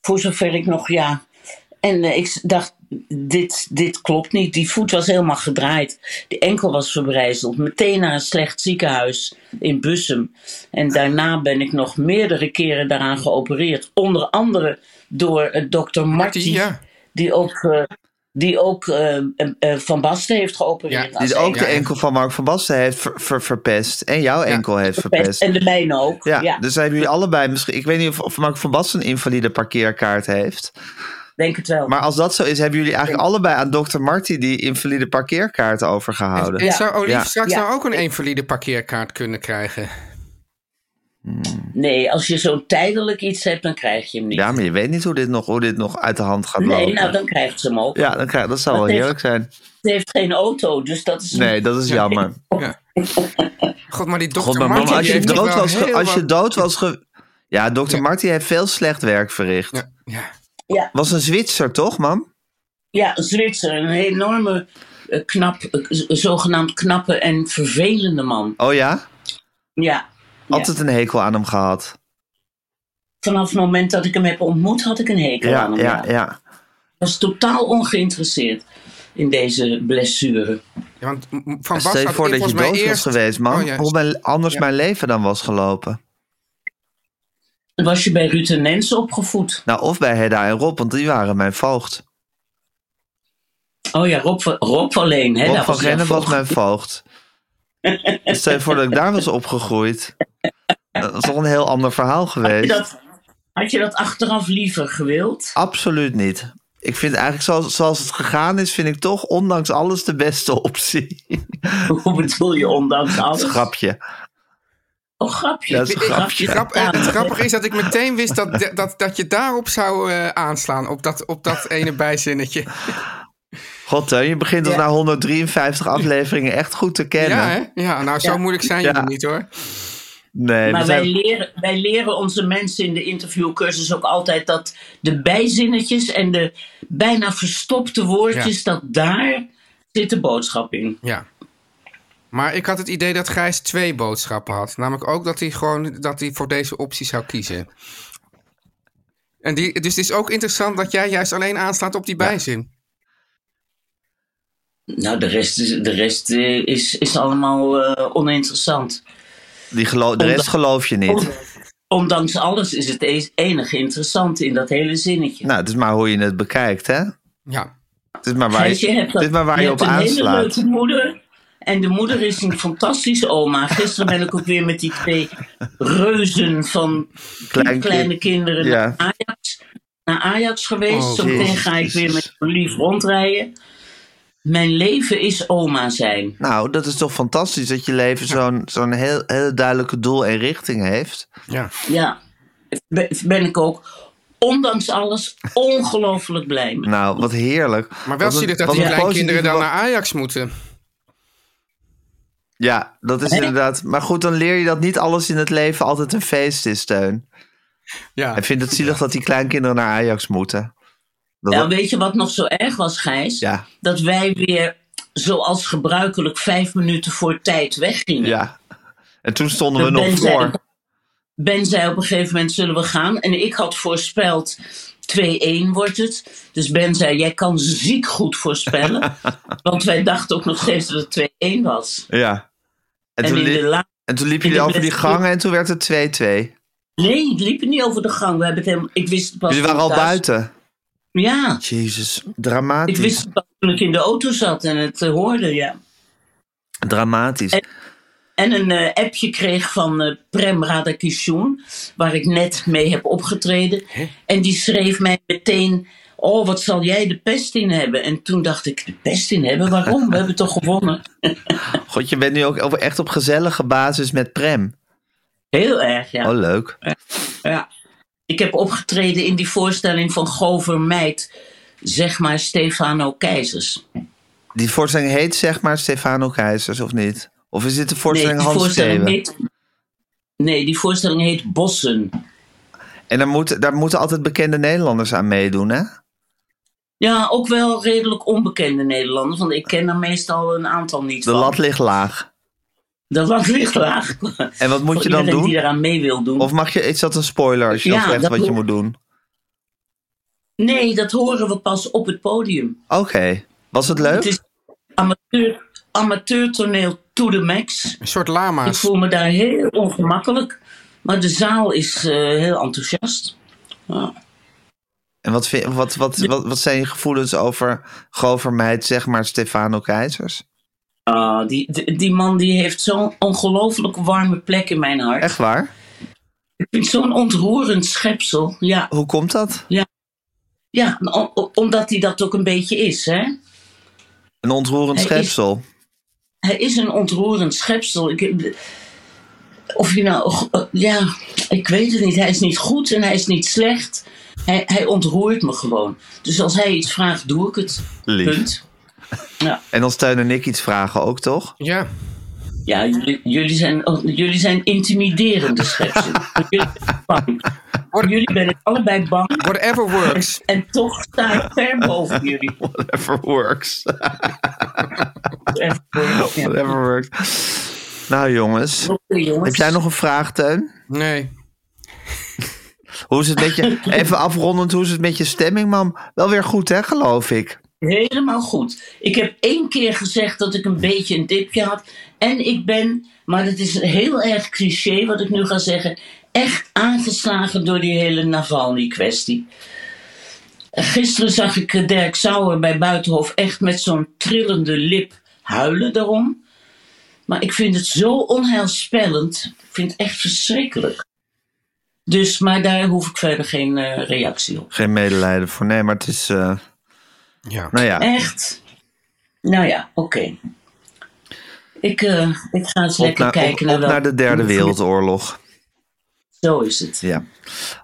S6: Voor zover ik nog, ja. En eh, ik dacht, dit, dit klopt niet. Die voet was helemaal gedraaid. De enkel was verbrijzeld. Meteen naar een slecht ziekenhuis in Bussum. En daarna ben ik nog meerdere keren daaraan geopereerd. Onder andere door eh, dokter Marty.
S2: Die, ja.
S6: Die ook, eh, die ook eh, eh, eh, Van Basten heeft geopereerd.
S2: Ja,
S3: Die
S6: als
S3: is ook
S6: enkel.
S3: de enkel van Mark van Basten heeft ver- ver- verpest. En jouw enkel heeft verpest.
S6: En de mijne ook.
S3: Ja,
S6: Ja,
S3: dus zijn jullie allebei misschien... Ik weet niet of, of Mark van Basten een invalide parkeerkaart heeft.
S6: denk het wel.
S3: Maar als dat zo is, hebben jullie eigenlijk allebei aan dokter Marty die invalide parkeerkaart overgehouden.
S2: En zou Olive
S3: Ja.
S2: straks
S6: Ja.
S2: nou ook een invalide parkeerkaart kunnen krijgen?
S6: Nee, als je zo tijdelijk iets hebt, dan krijg je hem niet.
S3: Ja, maar je weet niet hoe dit nog, hoe dit nog uit de hand gaat lopen.
S6: nee, nou dan krijgt ze hem ook.
S3: Ja, dan krijg, dat zou wel
S6: heeft-
S3: heerlijk zijn.
S6: Ze heeft geen auto, dus dat is...
S3: Nee, dat is jammer.
S6: Oh.
S2: Ja. God, maar die dokter
S3: God, maar
S2: Martin,
S3: man,
S2: die
S3: als je
S2: heeft toch
S3: dood
S2: wel
S3: was, ge-
S2: heel
S3: als je
S2: wat-
S3: dood was ge- Ja, dokter
S2: Ja.
S3: Marty heeft veel slecht werk verricht.
S2: Ja, ja.
S6: Ja,
S3: Was een Zwitser, toch, man?
S6: ja, een Zwitser, een enorme, eh, knap, eh, z- zogenaamd knappe en vervelende man.
S3: Oh ja?
S6: Ja. ja.
S3: Altijd een hekel aan hem gehad.
S6: Vanaf het moment dat ik hem heb ontmoet, had ik een hekel
S3: Ja,
S6: aan hem.
S3: ja,
S6: ja.
S3: ja.
S6: was totaal ongeïnteresseerd in deze blessure.
S2: Ja, want m- m- Van Bas
S3: Stel je
S2: had
S3: voor
S2: ik
S3: dat je
S2: volgens mij
S3: dood was
S2: eerst-
S3: geweest, man.
S2: Oh, ja.
S3: Hoe mijn- anders
S2: Ja.
S3: mijn leven dan was gelopen.
S6: Was je bij Ruud en Nens opgevoed?
S3: Nou, of bij Hedda en Rob, want die waren mijn voogd.
S6: Oh ja, Rob, van- Rob alleen. Hè?
S3: Rob
S6: daar
S3: van
S6: jouw
S3: Rennen was
S6: voogd.
S3: mijn voogd. Dus Stel je voor dat ik daar was opgegroeid. Dat was toch een heel ander verhaal
S6: Had je
S3: geweest.
S6: dat, had je dat achteraf liever gewild?
S3: Absoluut niet. Ik vind eigenlijk zoals, zoals het gegaan is, vind ik toch ondanks alles de beste optie.
S6: Hoe bedoel je, ondanks alles?
S3: Grapje.
S6: Oh, grapje.
S3: Dat is een grapje.
S2: Die grap, eh, het grappige is dat ik meteen wist dat, de- dat, dat je daarop zou eh, aanslaan. Op dat, op dat ene bijzinnetje.
S3: God, Teun, je begint ons
S6: Ja.
S3: na 153 afleveringen echt goed te kennen.
S2: Ja, hè? Ja, nou zo moeilijk zijn
S3: Ja.
S2: jullie niet hoor.
S3: Nee, we
S6: Maar
S3: zijn-
S6: wij leren, wij leren onze mensen in de interviewcursus ook altijd dat de bijzinnetjes en de bijna verstopte woordjes, dat daar zit de boodschap in.
S2: Ja. Maar ik had het idee dat Gijs twee boodschappen had. Namelijk ook dat hij gewoon dat hij voor deze optie zou kiezen. En die, dus het is ook interessant dat jij juist alleen aanslaat op die bijzin.
S6: Nou, de rest is, de rest eh, is, is allemaal eh, oninteressant.
S3: die gelo- de rest geloof je niet.
S6: Ondanks alles is het e- enige interessant in dat hele zinnetje.
S3: Nou, het is maar hoe je het bekijkt, hè?
S2: Ja.
S3: Het is maar waar
S6: Gijs,
S3: je,
S6: je hebt,
S3: het
S6: dat-
S3: is maar waar je, op
S6: hebt een hele
S3: aanslaat.
S6: leuke moeder. En de moeder is een fantastische oma. Gisteren ben ik ook weer met die twee reuzen van
S3: Klein
S6: kleine
S3: kind.
S6: kinderen
S3: Ja.
S6: naar, Ajax, naar Ajax geweest.
S2: Oh,
S6: Zometeen
S3: Jezus.
S6: ga ik weer met lief rondrijden. Mijn leven is oma zijn.
S3: Nou, dat is toch fantastisch dat je leven zo'n zo'n heel, heel duidelijke doel en richting heeft.
S2: ja.
S6: Ja, ben, ben ik ook ondanks alles ongelooflijk blij mee.
S3: Nou, wat heerlijk.
S2: Maar wel
S3: Wat een-
S2: zielig dat
S3: wat
S2: die
S3: een
S2: kleinkinderen
S3: positieve
S2: dan
S3: wa-
S2: naar Ajax moeten.
S3: Ja, dat is inderdaad. Maar goed, dan leer je dat niet alles in het leven altijd een feest is, Steun.
S2: Ja.
S3: Hij vindt het zielig dat die kleinkinderen naar Ajax moeten. Dat
S6: Ja,
S3: dat-
S6: Nou, weet je wat nog zo erg was, Gijs?
S3: Ja.
S6: Dat wij weer, zoals gebruikelijk, vijf minuten voor tijd weggingen.
S3: ja. En toen stonden we
S6: Dat
S3: nog
S6: ben zij-
S3: voor.
S6: Ben zei op een gegeven moment zullen we gaan. En ik had voorspeld 2-1 wordt het. Dus Ben zei, jij kan ziek goed voorspellen. want wij dachten ook nog steeds dat het 2-1 was.
S3: Ja. En,
S6: En
S3: toen,
S6: in
S3: liep-
S6: de laatste...
S3: en toen liepen
S6: in de
S3: jullie over die
S6: wedstrijd-
S3: gangen en toen werd het 2-2.
S6: Nee, het liep niet over de gang. We hebben het helemaal... Ik wist het pas
S3: Jullie waren
S6: toen
S3: al
S6: thuis-
S3: buiten.
S6: Ja,
S3: Jezus,
S6: ik wist
S3: dramatisch.
S6: het pas toen ik in de auto zat en het eh, hoorde, ja.
S3: Dramatisch.
S6: Eh. En een eh, appje kreeg van eh, Prem Radakishun, waar ik net mee heb opgetreden. En die schreef mij meteen: Oh, wat zal jij de pest in hebben? En toen dacht ik: De pest in hebben? Waarom? We hebben toch gewonnen?
S3: God, je bent nu ook over- echt op gezellige basis met Prem.
S6: Heel erg, ja.
S3: Oh, leuk.
S6: ja. Ik heb opgetreden in die voorstelling van Gover Meid, zeg maar Stefano Keizers.
S3: Die voorstelling heet zeg maar Stefano Keizers of niet? Of is dit de voorstelling
S6: die
S3: Hans Steven?
S6: heet, nee, die voorstelling heet Bossen.
S3: En daar, moet, daar moeten altijd bekende Nederlanders aan meedoen, hè?
S6: Ja, ook wel redelijk onbekende Nederlanders, want ik ken er meestal een aantal niet
S3: De
S6: van.
S3: lat ligt laag.
S6: De lat ligt laag.
S3: En wat moet
S6: Voor
S3: je dan
S6: iedereen
S3: doen?
S6: die eraan mee wil doen.
S3: Of mag je, is dat een spoiler als je
S6: Ja,
S3: dan zegt
S6: dat
S3: wat je
S6: moet-
S3: moet doen?
S6: Nee, dat horen we pas op het podium.
S3: Oké. Was het leuk?
S6: Het is amateur, amateurtoneel to the max.
S2: Een soort
S3: Ah,
S6: Ik
S2: lama's.
S6: voel me daar heel ongemakkelijk. Maar de zaal is eh, heel enthousiast. Ja.
S3: En wat, vind- wat, wat, wat, wat zijn je gevoelens over Grover Meid, zeg maar Stefano Keizers?
S6: Ah, die, die, die man die heeft zo'n ongelooflijk warme plek in mijn hart.
S3: Echt waar?
S6: Ik vind het zo'n ontroerend schepsel. Ja,
S3: Hoe komt dat?
S6: ja o- o- omdat hij dat ook een beetje is. Hè?
S3: Een ontroerend
S6: Hij is-
S3: schepsel.
S6: Hij is een ontroerend schepsel. Ik, of je nou, g- ja, ik weet het niet. Hij is niet goed en hij is niet slecht. Hij, hij ontroert me gewoon. Dus als hij iets vraagt, doe ik het.
S3: Lief.
S6: Punt. Ja,
S3: En dan Steun en ik iets vragen ook, toch?
S2: Ja.
S6: ja jullie, jullie, zijn, oh, jullie zijn intimiderende schepselen. jullie, zijn bang. jullie zijn allebei bang.
S2: Whatever works.
S6: En toch sta ik ver boven jullie.
S3: Whatever works.
S6: Echt, eh, ja.
S3: Whatever works. Nou jongens,
S6: Oké, jongens.
S3: heb jij nog een vraag, Teun?
S2: Nee.
S3: Hoe is het met je, even afrondend, hoe is het met je stemming, mam? Wel weer goed, hè, geloof ik.
S6: Helemaal goed. Ik heb één keer gezegd dat ik een beetje een dipje had. En ik ben, maar dat is heel erg cliché wat ik nu ga zeggen, echt aangeslagen door die hele Navalny-kwestie. Gisteren zag ik eh, Dirk Sauer bij Buitenhof echt met zo'n trillende lip huilen daarom. Maar ik vind het zo onheilspellend. Ik vind het echt verschrikkelijk. Dus, maar daar hoef ik verder geen eh, reactie op.
S3: Geen medelijden voor, nee, maar het is, eh,
S2: Ja.
S3: nou
S6: Eh,
S3: ja.
S6: Echt? Nou ja, oké. Ik, eh, ik ga eens
S3: Op
S6: lekker
S3: naar, op,
S6: kijken
S3: op
S6: welke-
S3: naar de derde wereldoorlog.
S6: Zo is het. Oké
S3: Ja.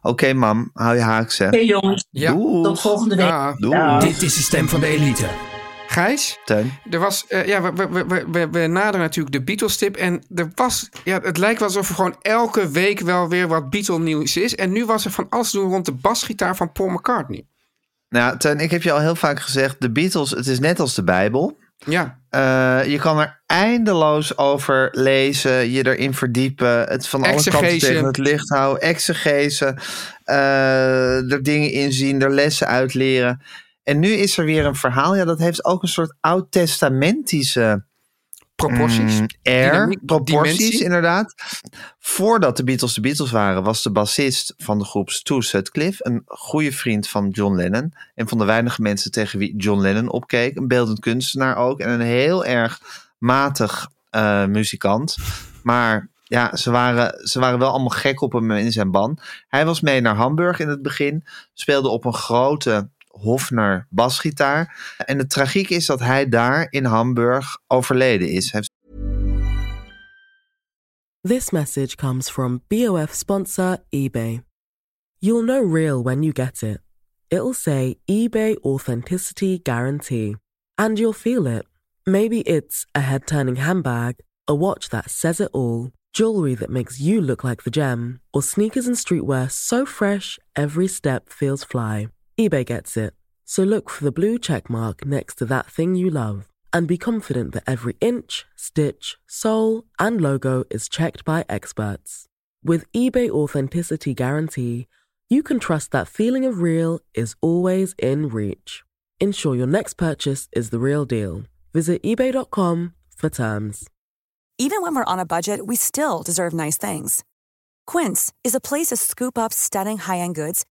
S3: Oké, mam, hou je haaks, hè.
S6: jongens,
S2: Ja.
S3: Doei.
S6: tot volgende week.
S2: Ja.
S3: Doei.
S7: Dit is de stem van de elite.
S2: Gijs?
S3: Teun.
S2: Er was, eh, ja, we, we, we, we, we naderen natuurlijk de Beatles-tip. En er was, ja, het lijkt wel alsof er gewoon elke week wel weer wat Beatle-nieuws is. En nu was er van alles te doen rond de basgitaar van Paul McCartney.
S3: Nou, Teun, ik heb je al heel vaak gezegd, de Beatles, het is net als de Bijbel.
S2: Ja,
S3: Eh, je kan er eindeloos over lezen, je erin verdiepen, het van alle kanten
S2: Exegese.
S3: tegen het licht houden, exegese, eh, er dingen in zien, er lessen uit leren. En nu is er weer een verhaal, ja, dat heeft ook een soort oud-testamentische
S2: proporties.
S3: mm, air,
S2: Dynamiek,
S3: proporties
S2: dimensie.
S3: inderdaad. Voordat de Beatles de Beatles waren, was de bassist van de groep Stu Sutcliffe een goede vriend van John Lennon. En van de weinige mensen tegen wie John Lennon opkeek. Een beeldend kunstenaar ook en een heel erg matig eh, muzikant. Maar ja, ze waren, ze waren wel allemaal gek op hem in zijn ban. Hij was mee naar Hamburg in het begin, speelde op een grote Hofner basgitaar. En de tragiek is dat hij daar in Hamburg overleden is. Hij
S8: This message comes from BOF sponsor eBay. You'll know real when you get it. It'll say eBay Authenticity Guarantee. And you'll feel it. Maybe it's a head turning handbag, a watch that says it all, jewelry that makes you look like the gem, or sneakers and streetwear so fresh every step feels fly. eBay gets it. So look for the blue check mark next to that thing you love and be confident that every inch, stitch, sole, and logo is checked by experts. With eBay Authenticity Guarantee, you can trust that feeling of real is always in reach. Ensure your next purchase is the real deal. Visit eBay.com for terms.
S9: Even when we're on a budget, we still deserve nice things. Quince is a place to scoop up stunning high-end goods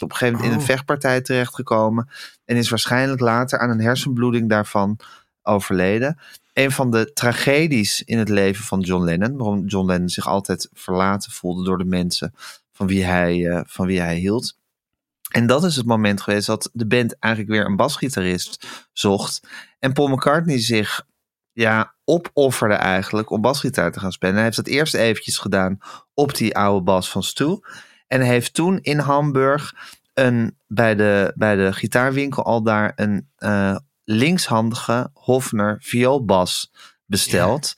S3: op een gegeven moment in een
S10: Oh.
S3: vechtpartij terechtgekomen. En is waarschijnlijk later aan een hersenbloeding daarvan overleden. Een van de tragedies in het leven van John Lennon. Waarom John Lennon zich altijd verlaten voelde door de mensen van wie hij, eh, van wie hij hield. En dat is het moment geweest dat de band eigenlijk weer een basgitarist zocht. En Paul McCartney zich ja, opofferde eigenlijk om basgitaar te gaan spelen. En hij heeft dat eerst eventjes gedaan op die oude bas van Stu. En hij heeft toen in Hamburg een, bij, de, bij de gitaarwinkel al daar een eh, linkshandige Hofner vioolbas besteld.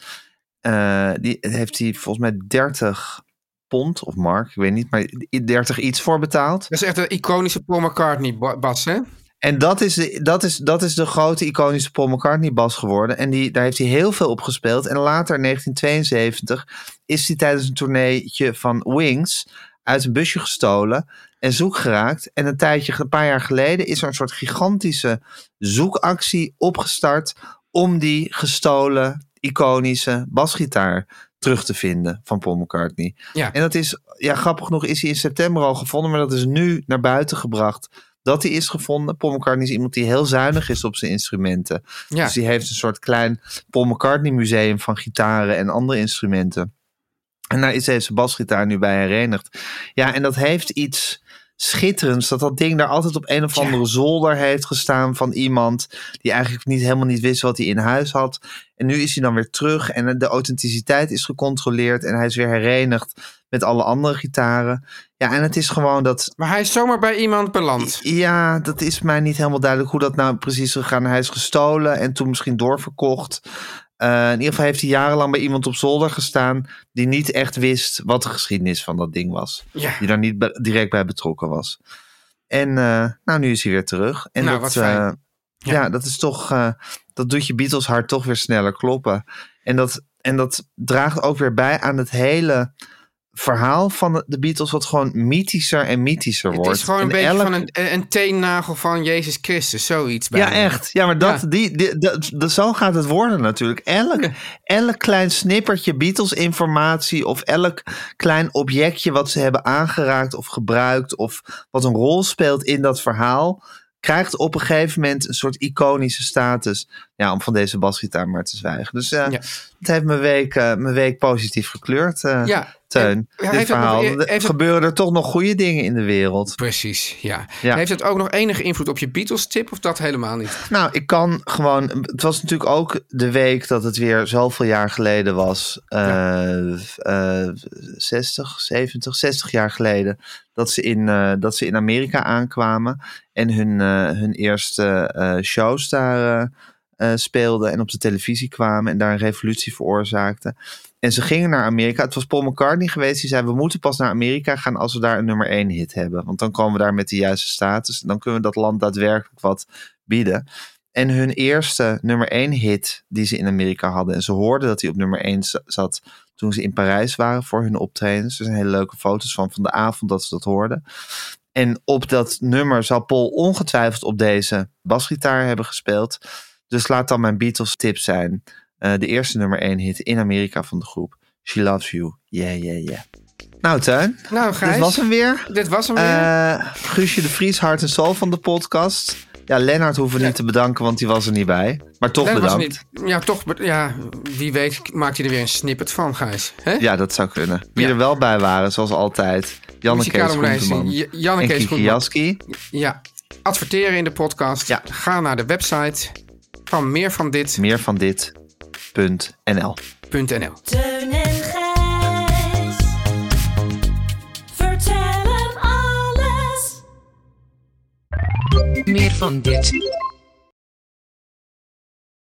S3: Eh, die heeft hij volgens mij 30 pond of mark, ik weet niet, maar 30 iets voor betaald.
S2: Dat is echt een iconische Paul McCartney-bas, hè?
S3: En dat is, de, dat, is, dat is de grote iconische Paul McCartney-bas geworden. En die, daar heeft hij heel veel op gespeeld. En later, in 1972, is hij tijdens een tourneetje van Wings uit een busje gestolen en zoek geraakt. En een tijdje, een paar jaar geleden, is er een soort gigantische zoekactie opgestart om die gestolen iconische basgitaar terug te vinden van Paul McCartney.
S2: Ja.
S3: En dat is, ja, grappig genoeg is hij in september al gevonden, maar dat is nu naar buiten gebracht dat hij is gevonden. Paul McCartney is iemand die heel zuinig is op zijn instrumenten.
S2: Ja.
S3: Dus die heeft een soort klein Paul McCartney museum van gitaren en andere instrumenten. En daar is deze basgitaar nu bij herenigd. Ja, en dat heeft iets schitterends. Dat dat ding daar altijd op een of andere zolder heeft gestaan van iemand. die eigenlijk niet, helemaal niet wist wat hij in huis had. En nu is hij dan weer terug en de authenticiteit is gecontroleerd. en hij is weer herenigd met alle andere gitaren. Ja, en het is gewoon dat.
S2: Maar hij is zomaar bij iemand beland.
S3: Ja, dat is mij niet helemaal duidelijk hoe dat nou precies is gegaan. Hij is gestolen en toen misschien doorverkocht. Eh, in ieder geval heeft hij jarenlang bij iemand op zolder gestaan. die niet echt wist wat de geschiedenis van dat ding was.
S2: Ja.
S3: Die daar niet be- direct bij betrokken was. En eh, nou, nu is hij weer terug. En
S2: Nou,
S3: dat,
S2: wat fijn.
S3: eh, ja. dat is toch. eh, dat doet je Beatles hart toch weer sneller kloppen. En dat, en dat draagt ook weer bij aan het hele verhaal van de Beatles. wat gewoon mythischer en mythischer wordt.
S2: Het is gewoon een
S3: En
S2: beetje
S3: elk-
S2: van een, eh, een een teennagel van Jezus Christus, zoiets. Bij
S3: ja, echt. Ja, maar dat, Die, die, dat, dat- zo gaat het worden natuurlijk. Elk, elk klein snippertje Beatles-informatie of elk klein objectje wat ze hebben aangeraakt of gebruikt of wat een rol speelt in dat verhaal, krijgt op een gegeven moment een soort iconische status. Ja, om van deze basgitaar maar te zwijgen. Dus eh het heeft mijn week, eh, mijn week positief gekleurd, eh,
S2: Ja,
S3: Teun.
S2: en- ja,
S3: dit
S2: heeft het nog- e-
S3: verhaal.
S2: heeft
S3: Er
S2: het-
S3: gebeuren er toch nog goede dingen in de wereld.
S2: Precies, ja.
S3: Ja.
S2: Heeft het ook nog enige invloed op je Beatles-tip of dat helemaal niet?
S3: Nou, ik kan gewoon. Het was natuurlijk ook de week dat het weer zoveel jaar geleden was. eh eh, 60, 70, 60 jaar geleden. Dat ze in, eh, dat ze in Amerika aankwamen. En hun, eh, hun eerste eh, shows daar eh, eh, speelden. En op de televisie kwamen. En daar een revolutie veroorzaakten. En ze gingen naar Amerika. Het was Paul McCartney geweest. Die zei: We moeten pas naar Amerika gaan als we daar een nummer 1 hit hebben. Want dan komen we daar met de juiste status. En dan kunnen we dat land daadwerkelijk wat bieden. En hun eerste nummer 1 hit die ze in Amerika hadden. En ze hoorden dat hij op nummer 1 zat toen ze in Parijs waren voor hun optredens. Er zijn hele leuke foto's van van de avond dat ze dat hoorden. En op dat nummer zal Paul ongetwijfeld op deze basgitaar hebben gespeeld. Dus laat dan mijn Beatles tip zijn. Eh, de eerste nummer 1 hit in Amerika van de groep. She Loves You. Yeah, yeah, yeah. Nou, Tuin.
S2: Nou, Gijs.
S3: Dit was hem weer.
S2: Dit was hem weer.
S3: Eh, Guusje de Vries, hart en soul van de podcast. Ja, Lennart hoeven we niet te bedanken, want die was er niet bij. Maar toch
S2: Dat was
S3: bedankt.
S2: niet- ja, toch. be- Ja, wie weet maakt hij er weer een snippet van, Gijs. Hè?
S3: Ja, dat zou kunnen. Wie er wel bij waren, zoals altijd. Janneke
S2: Muzikale
S3: Kees
S2: omlijsting.
S3: Groenteman.
S2: J- Janneke
S3: en
S2: Kees
S3: Kiki
S2: Groenteman.
S3: Jaski.
S2: Ja. Adverteren in de podcast. Ga naar de website van meervandit.nl.
S3: Meer van dit.nl.
S5: Teun en Gijs. Vertel hem alles.
S11: Meer van dit.